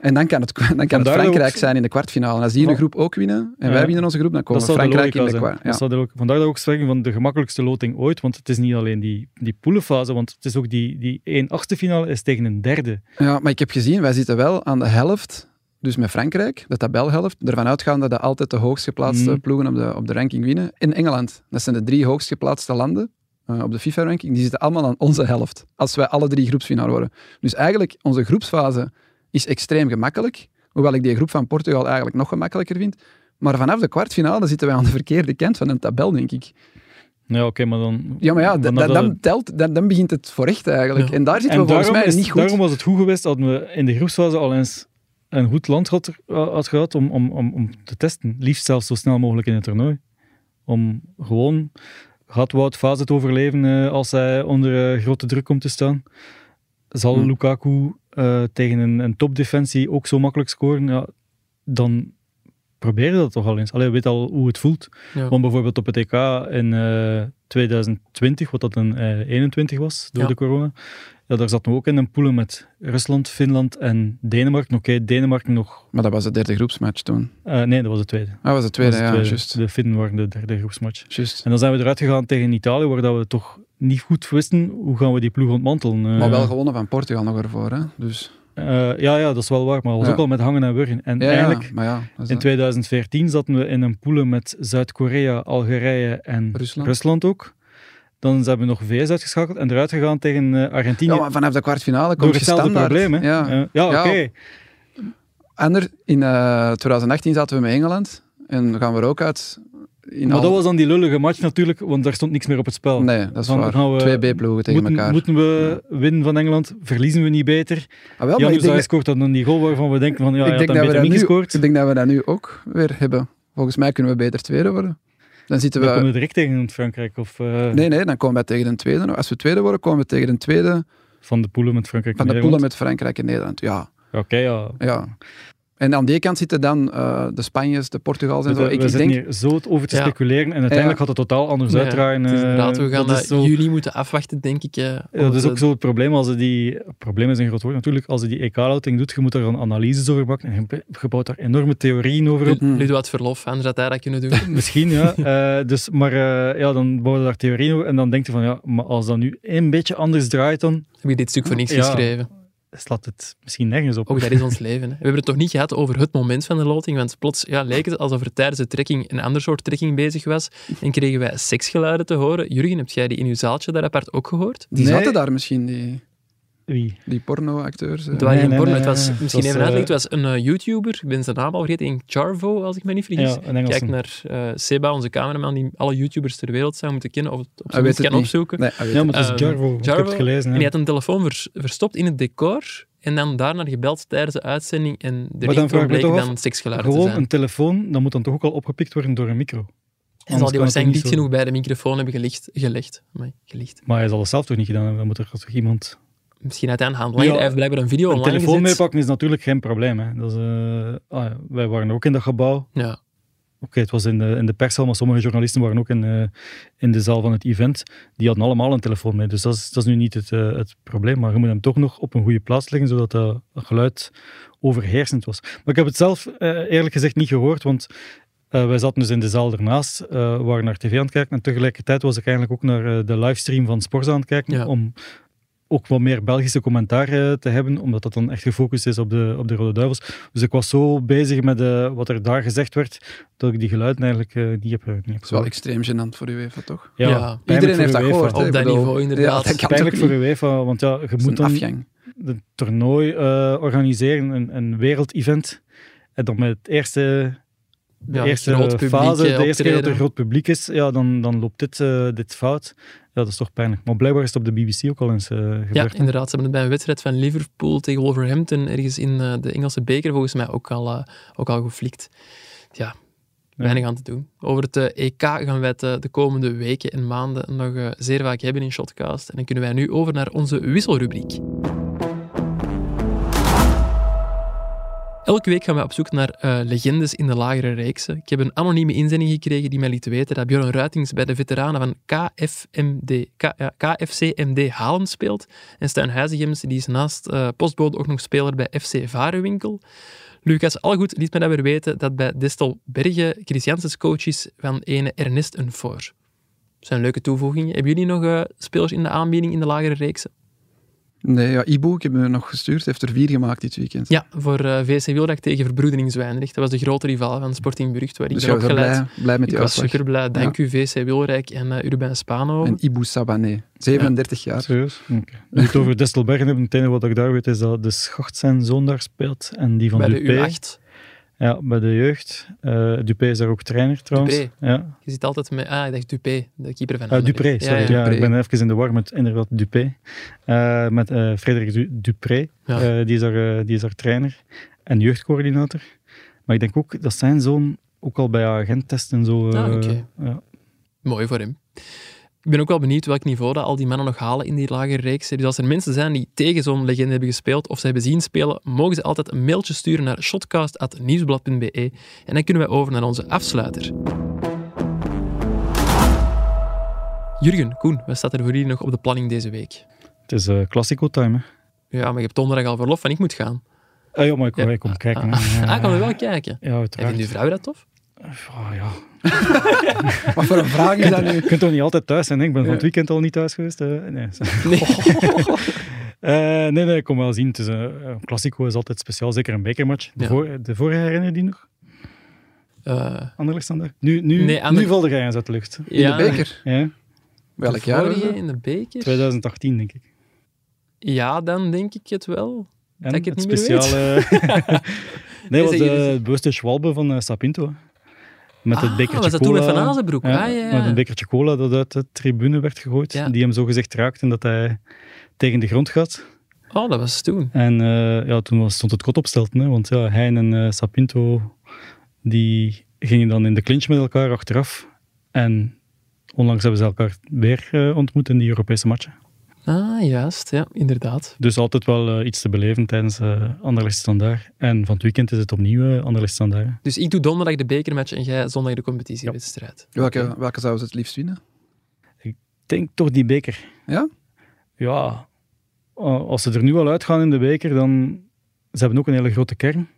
Speaker 1: En dan kan het, dan kan het
Speaker 3: Vandaar
Speaker 1: Frankrijk
Speaker 3: ook-
Speaker 1: zijn in de kwartfinale. En als die hun
Speaker 3: Ja.
Speaker 1: groep ook winnen, en
Speaker 3: Ja.
Speaker 1: wij winnen onze groep, dan komen
Speaker 3: dat zou
Speaker 1: Frankrijk
Speaker 3: de
Speaker 1: in
Speaker 3: logica
Speaker 1: de
Speaker 3: zijn.
Speaker 1: kwart.
Speaker 3: Dat
Speaker 1: Ja.
Speaker 3: zou de logica- Vandaar dat we ook spreken van de gemakkelijkste loting ooit, want het is niet alleen die, die poelenfase, want het is ook die, die 1 achtste finale is tegen een derde.
Speaker 1: Ja, maar ik heb gezien, wij zitten wel aan de helft, dus met Frankrijk, de tabelhelft, ervan uitgaan dat de altijd de hoogst geplaatste
Speaker 3: Mhm.
Speaker 1: ploegen op de, op de ranking winnen. In Engeland, dat zijn de drie hoogst geplaatste landen eh, op de FIFA-ranking, die zitten allemaal aan onze helft, als wij alle drie groepswinnaar worden. Dus eigenlijk, onze groepsfase is extreem gemakkelijk, hoewel ik die groep van Portugal eigenlijk nog gemakkelijker vind. Maar vanaf de kwartfinale zitten wij aan de verkeerde kant van een tabel, denk ik.
Speaker 3: Ja, oké, maar dan...
Speaker 1: Ja, maar ja, da-
Speaker 3: vanaf
Speaker 1: da-
Speaker 3: dat-
Speaker 1: dan, telt, dan, dan begint het voor echt eigenlijk.
Speaker 2: Ja.
Speaker 1: En daar zitten
Speaker 3: en
Speaker 1: we volgens
Speaker 3: daarom,
Speaker 1: mij
Speaker 3: is,
Speaker 1: niet goed.
Speaker 3: daarom was het goed geweest dat we in de groepsfase al eens een goed land had, had gehad om, om, om, om te testen. Liefst zelfs zo snel mogelijk in het toernooi. Om gewoon... Gaat Wout Fase het overleven eh, als hij onder eh, grote druk komt te staan? Zal
Speaker 1: Hmm.
Speaker 3: Lukaku eh, tegen een, een topdefensie ook zo makkelijk scoren? Ja, dan probeer je dat toch al eens. Allee, je weet al hoe het voelt.
Speaker 2: Ja.
Speaker 3: Want bijvoorbeeld op het EK in eh, 2020, wat dat een eh, 21 was door
Speaker 2: Ja.
Speaker 3: de corona, ja, daar zaten we ook in een poelen met Rusland, Finland en Denemarken. Oké, Denemarken nog...
Speaker 1: Maar dat was de derde groepsmatch toen.
Speaker 3: eh, nee, dat was de tweede.
Speaker 1: Ah, was het
Speaker 3: Dat
Speaker 1: tweede,
Speaker 3: was de
Speaker 1: ja,
Speaker 3: tweede.
Speaker 1: juist.
Speaker 3: De Finnen waren de derde groepsmatch.
Speaker 1: Juist.
Speaker 3: En dan zijn we eruit gegaan tegen Italië, waar dat we toch niet goed wisten hoe gaan we die ploeg ontmantelen. Eh,
Speaker 1: Maar wel gewonnen van Portugal nog ervoor, hè? Dus,
Speaker 3: eh, ja, ja, dat is wel waar, maar dat was
Speaker 1: Ja.
Speaker 3: ook al met hangen en wurgen. En
Speaker 1: ja, ja,
Speaker 3: eigenlijk,
Speaker 1: maar ja, dat is
Speaker 3: in
Speaker 1: dat.
Speaker 3: 2014 zaten we in een poelen met Zuid-Korea, Algerije en
Speaker 1: Rusland.
Speaker 3: Rusland ook. Dan hebben we nog VS uitgeschakeld en eruit gegaan tegen eh, Argentinië.
Speaker 1: Ja, maar vanaf de kwartfinale
Speaker 3: door
Speaker 1: komt je
Speaker 3: hetzelfde
Speaker 1: standaard.
Speaker 3: probleem. Hè?
Speaker 1: Ja.
Speaker 3: Eh, ja,
Speaker 1: Ja,
Speaker 3: oké.
Speaker 1: Ander, in eh, 2018 zaten we met Engeland en dan gaan we er ook uit. In
Speaker 3: Maar
Speaker 1: al-
Speaker 3: dat was dan die lullige match natuurlijk, want daar stond niks meer op het spel.
Speaker 1: Nee, dat is
Speaker 3: Dan
Speaker 1: waar.
Speaker 3: gaan we-
Speaker 1: Twee B-ploegen tegen
Speaker 3: moeten,
Speaker 1: elkaar.
Speaker 3: moeten we winnen van Engeland? Verliezen we niet beter?
Speaker 1: Ah, wel, maar
Speaker 3: Jan
Speaker 1: ik denk,
Speaker 3: Oezai
Speaker 1: dat-
Speaker 3: scoort dan een die goal waarvan we denken van ja,
Speaker 1: ik
Speaker 3: hij had
Speaker 1: denk
Speaker 3: dan
Speaker 1: dat we dat
Speaker 3: beter niet
Speaker 1: nu,
Speaker 3: gescoord.
Speaker 1: ik denk dat we dat nu ook weer hebben. Volgens mij kunnen we beter tweede worden. Dan zitten
Speaker 3: Dan komen we
Speaker 1: we...
Speaker 3: direct tegen Frankrijk of eh,
Speaker 1: Nee, nee, dan komen we tegen een tweede. Als we tweede worden, komen we tegen een tweede
Speaker 3: van de poelen met Frankrijk
Speaker 1: van
Speaker 3: en
Speaker 1: de poelen
Speaker 3: Nederland.
Speaker 1: met Frankrijk en Nederland. Ja,
Speaker 3: Oké, ja.
Speaker 1: Ja. En aan die kant zitten dan eh, de Spanjes, de Portugals en zo.
Speaker 3: we
Speaker 1: Ik, ik
Speaker 3: zitten
Speaker 1: denk,
Speaker 3: hier zo over te
Speaker 2: Ja.
Speaker 3: speculeren en uiteindelijk gaat het totaal anders
Speaker 2: Ja,
Speaker 3: uitdraaien.
Speaker 2: het is
Speaker 3: eh,
Speaker 2: inderdaad, we gaan
Speaker 3: dat
Speaker 2: dat
Speaker 3: is zo-
Speaker 2: jullie moeten afwachten, denk ik. eh,
Speaker 3: Ja, dat
Speaker 2: want,
Speaker 3: is ook
Speaker 2: eh,
Speaker 3: zo het probleem als je die... het probleem is een groot woord natuurlijk. Als je die EK-louting doet, je moet daar dan analyses over maken. En je je bouwt daar enorme theorieën over op.
Speaker 1: Mm.
Speaker 2: Lu- Ludo had verlof, anders had hij dat kunnen doen.
Speaker 3: Misschien, ja. Eh, dus, maar eh, ja, dan bouw je daar theorieën over. En dan denk je van, ja, maar als dat nu een beetje anders draait dan...
Speaker 2: Heb je dit stuk voor niks
Speaker 3: Ja.
Speaker 2: geschreven?
Speaker 3: Slaat het misschien nergens op.
Speaker 2: Ook Oh, dat is ons leven. Hè. We hebben het toch niet gehad over het moment van de loting, want plots ja, leek het alsof er tijdens de trekking een ander soort trekking bezig was en kregen wij seksgeluiden te horen. Jurgen, heb jij die in uw zaaltje daar apart ook gehoord?
Speaker 1: die
Speaker 3: Nee.
Speaker 1: zaten daar misschien, die,
Speaker 3: Wie?
Speaker 1: die porno-acteurs. eh.
Speaker 2: Het waren geen
Speaker 3: Nee, nee,
Speaker 2: porno,
Speaker 3: nee,
Speaker 2: het was
Speaker 3: nee.
Speaker 2: misschien
Speaker 3: Het was,
Speaker 2: even uitleggen.
Speaker 3: eh,
Speaker 2: Het was een eh, YouTuber, ik ben zijn naam al vergeten, in Charvo, als ik me niet vergis.
Speaker 3: Ja, een Engelse.
Speaker 2: Kijk naar eh, Seba, onze cameraman, die alle YouTubers ter wereld zou moeten kennen, of het
Speaker 1: Hij
Speaker 2: op zijn
Speaker 1: weet
Speaker 2: minst
Speaker 1: het
Speaker 2: kan
Speaker 1: niet.
Speaker 2: opzoeken.
Speaker 1: Nee, hij weet
Speaker 3: Ja,
Speaker 1: het.
Speaker 3: maar het is
Speaker 2: Eh,
Speaker 3: Jarvo. want Ik
Speaker 2: Jarvo.
Speaker 3: heb het gelezen.
Speaker 2: En
Speaker 3: hè.
Speaker 2: die had een telefoon vers- verstopt in het decor en dan daarna gebeld tijdens de uitzending en de
Speaker 3: dan vraag
Speaker 2: ringtoon
Speaker 3: ik me
Speaker 2: bleek
Speaker 3: toch af,
Speaker 2: dan seksgeluiden te
Speaker 3: Gewoon
Speaker 2: zijn.
Speaker 3: een telefoon, dat moet dan toch ook al opgepikt worden door een micro.
Speaker 2: En zal die
Speaker 3: Anders kan het toch niet
Speaker 2: waarschijnlijk niet
Speaker 3: zo-
Speaker 2: genoeg bij de microfoon hebben gelicht, gelegd. Amai, gelicht.
Speaker 3: Maar hij zal het zelf toch niet gedaan hebben? Dan moet er toch iemand...
Speaker 2: Misschien had hij een handlanger.
Speaker 3: Ja,
Speaker 2: Hij heeft blijkbaar een video
Speaker 3: Een
Speaker 2: online
Speaker 3: telefoon
Speaker 2: gezet.
Speaker 3: meepakken is natuurlijk geen probleem. Hè. Dat is, eh, ah ja, wij waren ook in dat gebouw. Oké,
Speaker 2: Ja.
Speaker 3: het was in de, in de pershal, maar sommige journalisten waren ook in, eh, in de zaal van het event. Die hadden allemaal een telefoon mee. Dus dat is, dat is nu niet het, eh, het probleem. Maar je moet hem toch nog op een goede plaats leggen, zodat dat geluid overheersend was. Maar ik heb het zelf eh, eerlijk gezegd niet gehoord, want Eh, wij zaten dus in de zaal ernaast, eh, waren naar tv aan het kijken. En tegelijkertijd was ik eigenlijk ook naar eh, de livestream van Sporza aan het kijken.
Speaker 2: Ja.
Speaker 3: Om ook wat meer Belgische commentaar eh, te hebben, omdat dat dan echt gefocust is op de, op de Rode Duivels. Dus ik was zo bezig met eh, wat er daar gezegd werd, dat ik die geluiden eigenlijk eh, niet heb, eh, niet heb
Speaker 1: is wel extreem gênant voor UEFA, toch?
Speaker 3: Ja,
Speaker 2: Ja.
Speaker 3: pijnlijk
Speaker 1: Iedereen
Speaker 3: voor
Speaker 1: heeft dat
Speaker 3: UEFA.
Speaker 1: gehoord. hè.
Speaker 2: Op
Speaker 1: Ik
Speaker 2: dat
Speaker 1: bedoel,
Speaker 2: niveau, inderdaad.
Speaker 1: Ja, dat kan
Speaker 3: Pijnlijk
Speaker 1: toch
Speaker 3: voor
Speaker 1: niet?
Speaker 3: UEFA, want ja, je
Speaker 1: Het is
Speaker 3: moet
Speaker 1: een
Speaker 3: dan
Speaker 1: afgang.
Speaker 3: een toernooi eh, organiseren, een, een wereldevent. En dan met het eerste, de
Speaker 2: Ja, dus
Speaker 3: eerste
Speaker 2: groot publiek,
Speaker 3: fase,
Speaker 2: eh,
Speaker 3: de eerste keer dat er
Speaker 2: optreden.
Speaker 3: groot publiek is, ja, dan, dan loopt dit, eh, dit fout. Ja, dat is toch pijnlijk. Maar blijkbaar is het op de BBC ook al eens eh,
Speaker 2: Ja,
Speaker 3: gebeurd. hè?
Speaker 2: inderdaad. Ze hebben het bij een wedstrijd van Liverpool tegen Wolverhampton ergens in eh, de Engelse beker volgens mij ook al, eh, ook al geflikt. Ja, weinig aan te doen. Over het eh, EK gaan wij het eh, de komende weken en maanden nog eh, zeer vaak hebben in Shotcast. En dan kunnen wij nu over naar onze wisselrubriek. Elke week gaan wij op zoek naar eh, legendes in de lagere reeksen. Ik heb een anonieme inzending gekregen die mij liet weten dat Björn Ruitings bij de veteranen van KFMD, K- ja, KFCMD Halen speelt. En Stijn Huizigems die is naast eh, postbode ook nog speler bij FC Varenwinkel. Lucas Algoed liet me dat weer weten dat bij Destel Bergen Christiansens coach is van ene Ernest Unfor. Dat zijn leuke toevoegingen. Hebben jullie nog eh, spelers in de aanbieding in de lagere reeksen?
Speaker 1: Nee, ja, Ibu, ik heb hem nog gestuurd, heeft er vier gemaakt dit weekend.
Speaker 2: Ja, voor eh VC Wildag tegen Verbroedering Zwijndrecht. Dat was de grote rivaal van Sporting Brugge, waar ik
Speaker 1: dus
Speaker 2: ben
Speaker 1: jij was er
Speaker 2: opgeleid.
Speaker 1: blij, blij met
Speaker 2: ik
Speaker 1: die
Speaker 2: was
Speaker 1: uitslag.
Speaker 2: super blij. Dank u VC Wilrijk en eh Urbain Spano.
Speaker 1: En Ibu Sabané, 37 jaar.
Speaker 3: Serieus? Oké. Nu het over Distelbergen hebben, het enige wat ik daar weet is dat de Schacht zijn zoon daar speelt en die van
Speaker 2: bij de
Speaker 3: Dupé.
Speaker 2: U8.
Speaker 3: Ja, bij de jeugd. Eh Dupé is daar ook trainer trouwens.
Speaker 2: Dupré.
Speaker 3: Ja,
Speaker 2: Je zit altijd met... Ah, ik dacht Dupé, de keeper van
Speaker 3: Eh,
Speaker 2: Anderlecht.
Speaker 3: Dupré, sorry. Ja,
Speaker 2: Ja, ja.
Speaker 1: Dupré.
Speaker 3: ik ben even in de war met inderdaad Dupré. Eh, met eh Frederik Du- Dupré,
Speaker 2: Ja.
Speaker 3: Eh, die, is haar, eh, die is haar trainer en jeugdcoördinator. Maar ik denk ook dat zijn zoon ook al bij agenttesten en zo. eh,
Speaker 2: Ah, oké.
Speaker 3: ja.
Speaker 2: Mooi voor hem. Ik ben ook wel benieuwd welk niveau dat al die mannen nog halen in die lagere reeks. Dus als er mensen zijn die tegen zo'n legende hebben gespeeld of ze hebben zien spelen, mogen ze altijd een mailtje sturen naar shotcast.nieuwsblad.be en dan kunnen wij over naar onze afsluiter. Jurgen, Koen, wat staat er voor jullie nog op de planning deze week?
Speaker 3: Het is eh Classico time. Hè.
Speaker 2: Ja, maar je hebt donderdag al verlof en ik moet gaan.
Speaker 3: Ah, ja, maar ik,
Speaker 2: Ja.
Speaker 3: ik kom kijken.
Speaker 2: Ah,
Speaker 3: hè.
Speaker 2: ah,
Speaker 3: Ja,
Speaker 2: ah, kan we wel kijken.
Speaker 3: Ja,
Speaker 2: En
Speaker 3: uiteraard.
Speaker 2: vindt uw vrouw dat tof?
Speaker 3: Ah, ja.
Speaker 1: Wat voor een vraag is dat nu?
Speaker 3: Je kunt toch niet altijd thuis zijn? hè? Ik ben van het weekend al niet thuis geweest. eh, nee.
Speaker 1: Oh.
Speaker 2: Nee.
Speaker 3: Eh, nee, nee, ik kom wel zien. Het is, eh, een Classico is altijd speciaal, zeker een bekermatch. De,
Speaker 2: Ja.
Speaker 3: voor, de vorige herinner je die nog?
Speaker 2: Eh,
Speaker 3: Anderlecht staan daar. Nu, nu,
Speaker 2: Nee, Ander-
Speaker 3: nu valde jij eens uit de lucht.
Speaker 1: In de beker.
Speaker 3: Ja,
Speaker 1: Welk jaar? was
Speaker 2: vorige
Speaker 1: dat?
Speaker 2: in de beker?
Speaker 3: 2018 denk ik.
Speaker 2: Ja, dan denk ik het wel.
Speaker 3: En
Speaker 2: Dat ik het niet meer
Speaker 3: speciale... nee, was
Speaker 2: zeg je dus-
Speaker 3: de bewuste Schwalbe van eh, Sapinto. Met het
Speaker 2: Ah,
Speaker 3: bekertje
Speaker 2: was dat toen
Speaker 3: cola.
Speaker 2: met Van Azenbroek?
Speaker 3: Ja,
Speaker 2: Ah, ja, ja.
Speaker 3: Met een bekertje cola dat uit de tribune werd gegooid.
Speaker 2: Ja.
Speaker 3: Die hem zo gezegd raakte en dat hij tegen de grond gaat.
Speaker 2: Oh, dat was toen.
Speaker 3: En eh, ja, toen was, stond het kot op stelten, hè, want ja, hij en eh, Sapinto die gingen dan in de clinch met elkaar achteraf. En onlangs hebben ze elkaar weer eh, ontmoet in die Europese matchen.
Speaker 2: Ah, juist. Ja, inderdaad.
Speaker 3: Dus altijd wel eh, iets te beleven tijdens eh Anderlecht Standaard. En van het weekend is het opnieuw eh, Anderlecht Standaard. hè.
Speaker 2: Dus ik doe donderdag de bekermatch en jij zondag de competitiewedstrijd.
Speaker 1: Welke, welke zouden ze het liefst winnen?
Speaker 3: Ik denk toch die beker.
Speaker 1: Ja?
Speaker 3: Ja, eh, als ze er nu al uitgaan in de beker, dan... Ze hebben ook een hele grote kern.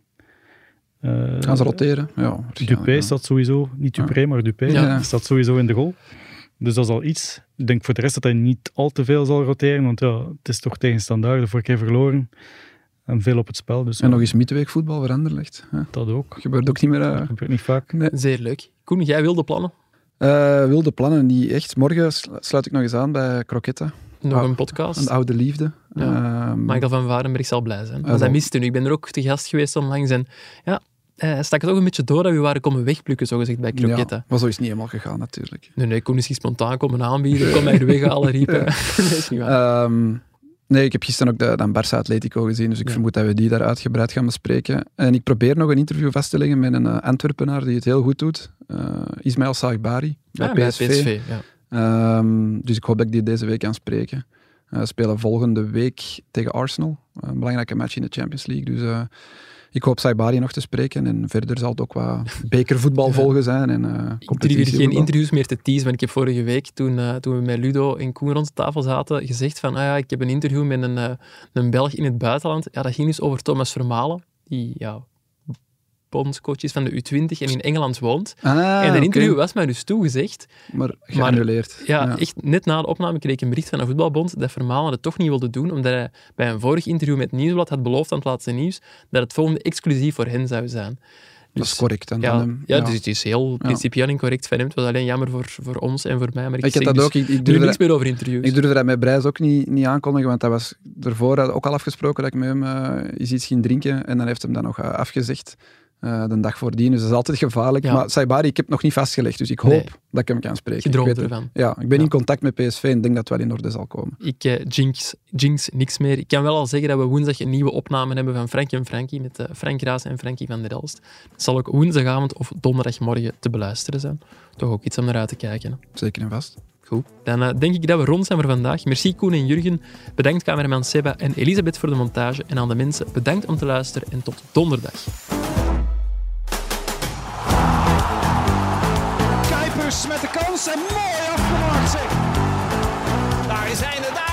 Speaker 3: Eh,
Speaker 1: Gaan ze roteren? Ja, waarschijnlijk,
Speaker 3: Dupé
Speaker 1: ja.
Speaker 3: staat sowieso, niet Dupré, maar Dupé
Speaker 1: Ja.
Speaker 3: staat sowieso in de goal. Dus dat is al iets. Ik denk voor de rest dat hij niet al te veel zal roteren, want ja, het is toch tegen standaard de vorige keer verloren. En veel op het spel, dus
Speaker 1: En nog eens midweekvoetbal voor Anderlecht. hè.
Speaker 3: dat ook.
Speaker 1: Gebeurt ook niet meer. eh.
Speaker 3: Dat gebeurt niet vaak.
Speaker 2: Zeer leuk. Koen, jij wilde plannen.
Speaker 1: Eh, wilde plannen niet echt. Morgen sl- sluit ik nog eens aan bij Croquetta.
Speaker 2: Nog
Speaker 1: Ah,
Speaker 2: een
Speaker 1: Een
Speaker 2: podcast.
Speaker 1: oude liefde. Ehm,
Speaker 2: Michael van Varenberg zal blij zijn.
Speaker 1: Ah,
Speaker 2: Want hij
Speaker 1: wel.
Speaker 2: miste nu. Ik ben er ook te gast geweest onlangs. En ja, hij stak het ook een beetje door dat we waren komen wegplukken, zogezegd, bij Croquette.
Speaker 1: Ja, maar zo is het niet helemaal gegaan natuurlijk.
Speaker 2: Nee, nee, Koen is hier spontaan komen aanbieden. Kom mij er weghalen, riepen.
Speaker 1: Ja.
Speaker 2: Nee, is niet waar.
Speaker 1: Ehm, nee, ik heb gisteren ook de, dan Barça Atletico gezien, dus ik
Speaker 2: Ja.
Speaker 1: vermoed dat we die daar uitgebreid gaan bespreken. En ik probeer nog een interview vast te leggen met een eh, Antwerpenaar die het heel goed doet. Eh, Ismaël Saagbari bij
Speaker 2: Ah,
Speaker 1: PSV.
Speaker 2: ja.
Speaker 1: Ehm, dus ik hoop dat ik die deze week kan spreken. Eh, We spelen volgende week tegen Arsenal. Eh, Een belangrijke match in de Champions League. Dus eh, ik hoop Saibari nog te spreken. En verder zal het ook wat bekervoetbal
Speaker 2: Ja.
Speaker 1: volgen zijn. En, eh,
Speaker 2: Ik durf hier geen
Speaker 1: competitievoetbal.
Speaker 2: interviews meer te teasen, want ik heb vorige week, toen, eh, toen we met Ludo en Koen rond de tafel zaten, gezegd van, ah ja, ik heb een interview met een, eh, een Belg in het buitenland. Ja, dat ging dus over Thomas Vermalen, die ja, bondscoach is van de U20 en in Engeland woont.
Speaker 1: Ah,
Speaker 2: en een
Speaker 1: oké.
Speaker 2: interview was mij dus toegezegd.
Speaker 1: Maar geannuleerd.
Speaker 2: Ja, echt net na de opname kreeg ik een bericht van een voetbalbond dat Vermalen het toch niet wilde doen, omdat hij bij een vorig interview met Nieuwsblad had beloofd aan het laatste nieuws dat het volgende exclusief voor hen zou zijn. Dus
Speaker 1: Dat is correct. Dan,
Speaker 2: Ja,
Speaker 1: dan, ehm,
Speaker 2: ja,
Speaker 1: hem.
Speaker 2: dus het is heel principieel incorrect van hem. Het was alleen jammer voor, voor ons en voor mij. Maar ik,
Speaker 1: Ik heb
Speaker 2: zeg
Speaker 1: dat
Speaker 2: dus
Speaker 1: ook. Ik, ik
Speaker 2: nu
Speaker 1: durfde
Speaker 2: niks meer over interviews.
Speaker 1: Ik durfde dat met Brijs ook niet, niet aankondigen, want dat was ervoor hadden we ook al afgesproken dat ik met hem eh, eens iets ging drinken. En dan heeft hem dat nog eh, afgezegd eh, de dag voordien. Dus dat is altijd gevaarlijk.
Speaker 2: Ja.
Speaker 1: Maar Saibari, ik heb het nog niet vastgelegd, dus ik hoop
Speaker 2: Nee.
Speaker 1: dat ik hem kan spreken.
Speaker 2: Gedroomd
Speaker 1: ik weet het.
Speaker 2: ervan.
Speaker 1: Ja, ik ben
Speaker 2: Ja.
Speaker 1: in contact met PSV en denk dat het wel in orde zal komen.
Speaker 2: Ik eh, jinx, jinx niks meer. Ik kan wel al zeggen dat we woensdag een nieuwe opname hebben van Frankie en Frankie met eh, Frank Raas en Frankie van der Elst. Dat zal ook woensdagavond of donderdagmorgen te beluisteren zijn. Toch ook iets om naar uit te kijken. hè.
Speaker 1: Zeker en vast.
Speaker 2: Goed. Dan eh, denk ik dat we rond zijn voor vandaag. Merci Koen en Jurgen. Bedankt cameraman Seba en Elisabeth voor de montage. En aan de mensen, bedankt om te luisteren en tot donderdag.
Speaker 4: Kuipers met de kans en mooi afgemaakt zeg. Daar zijn de daar.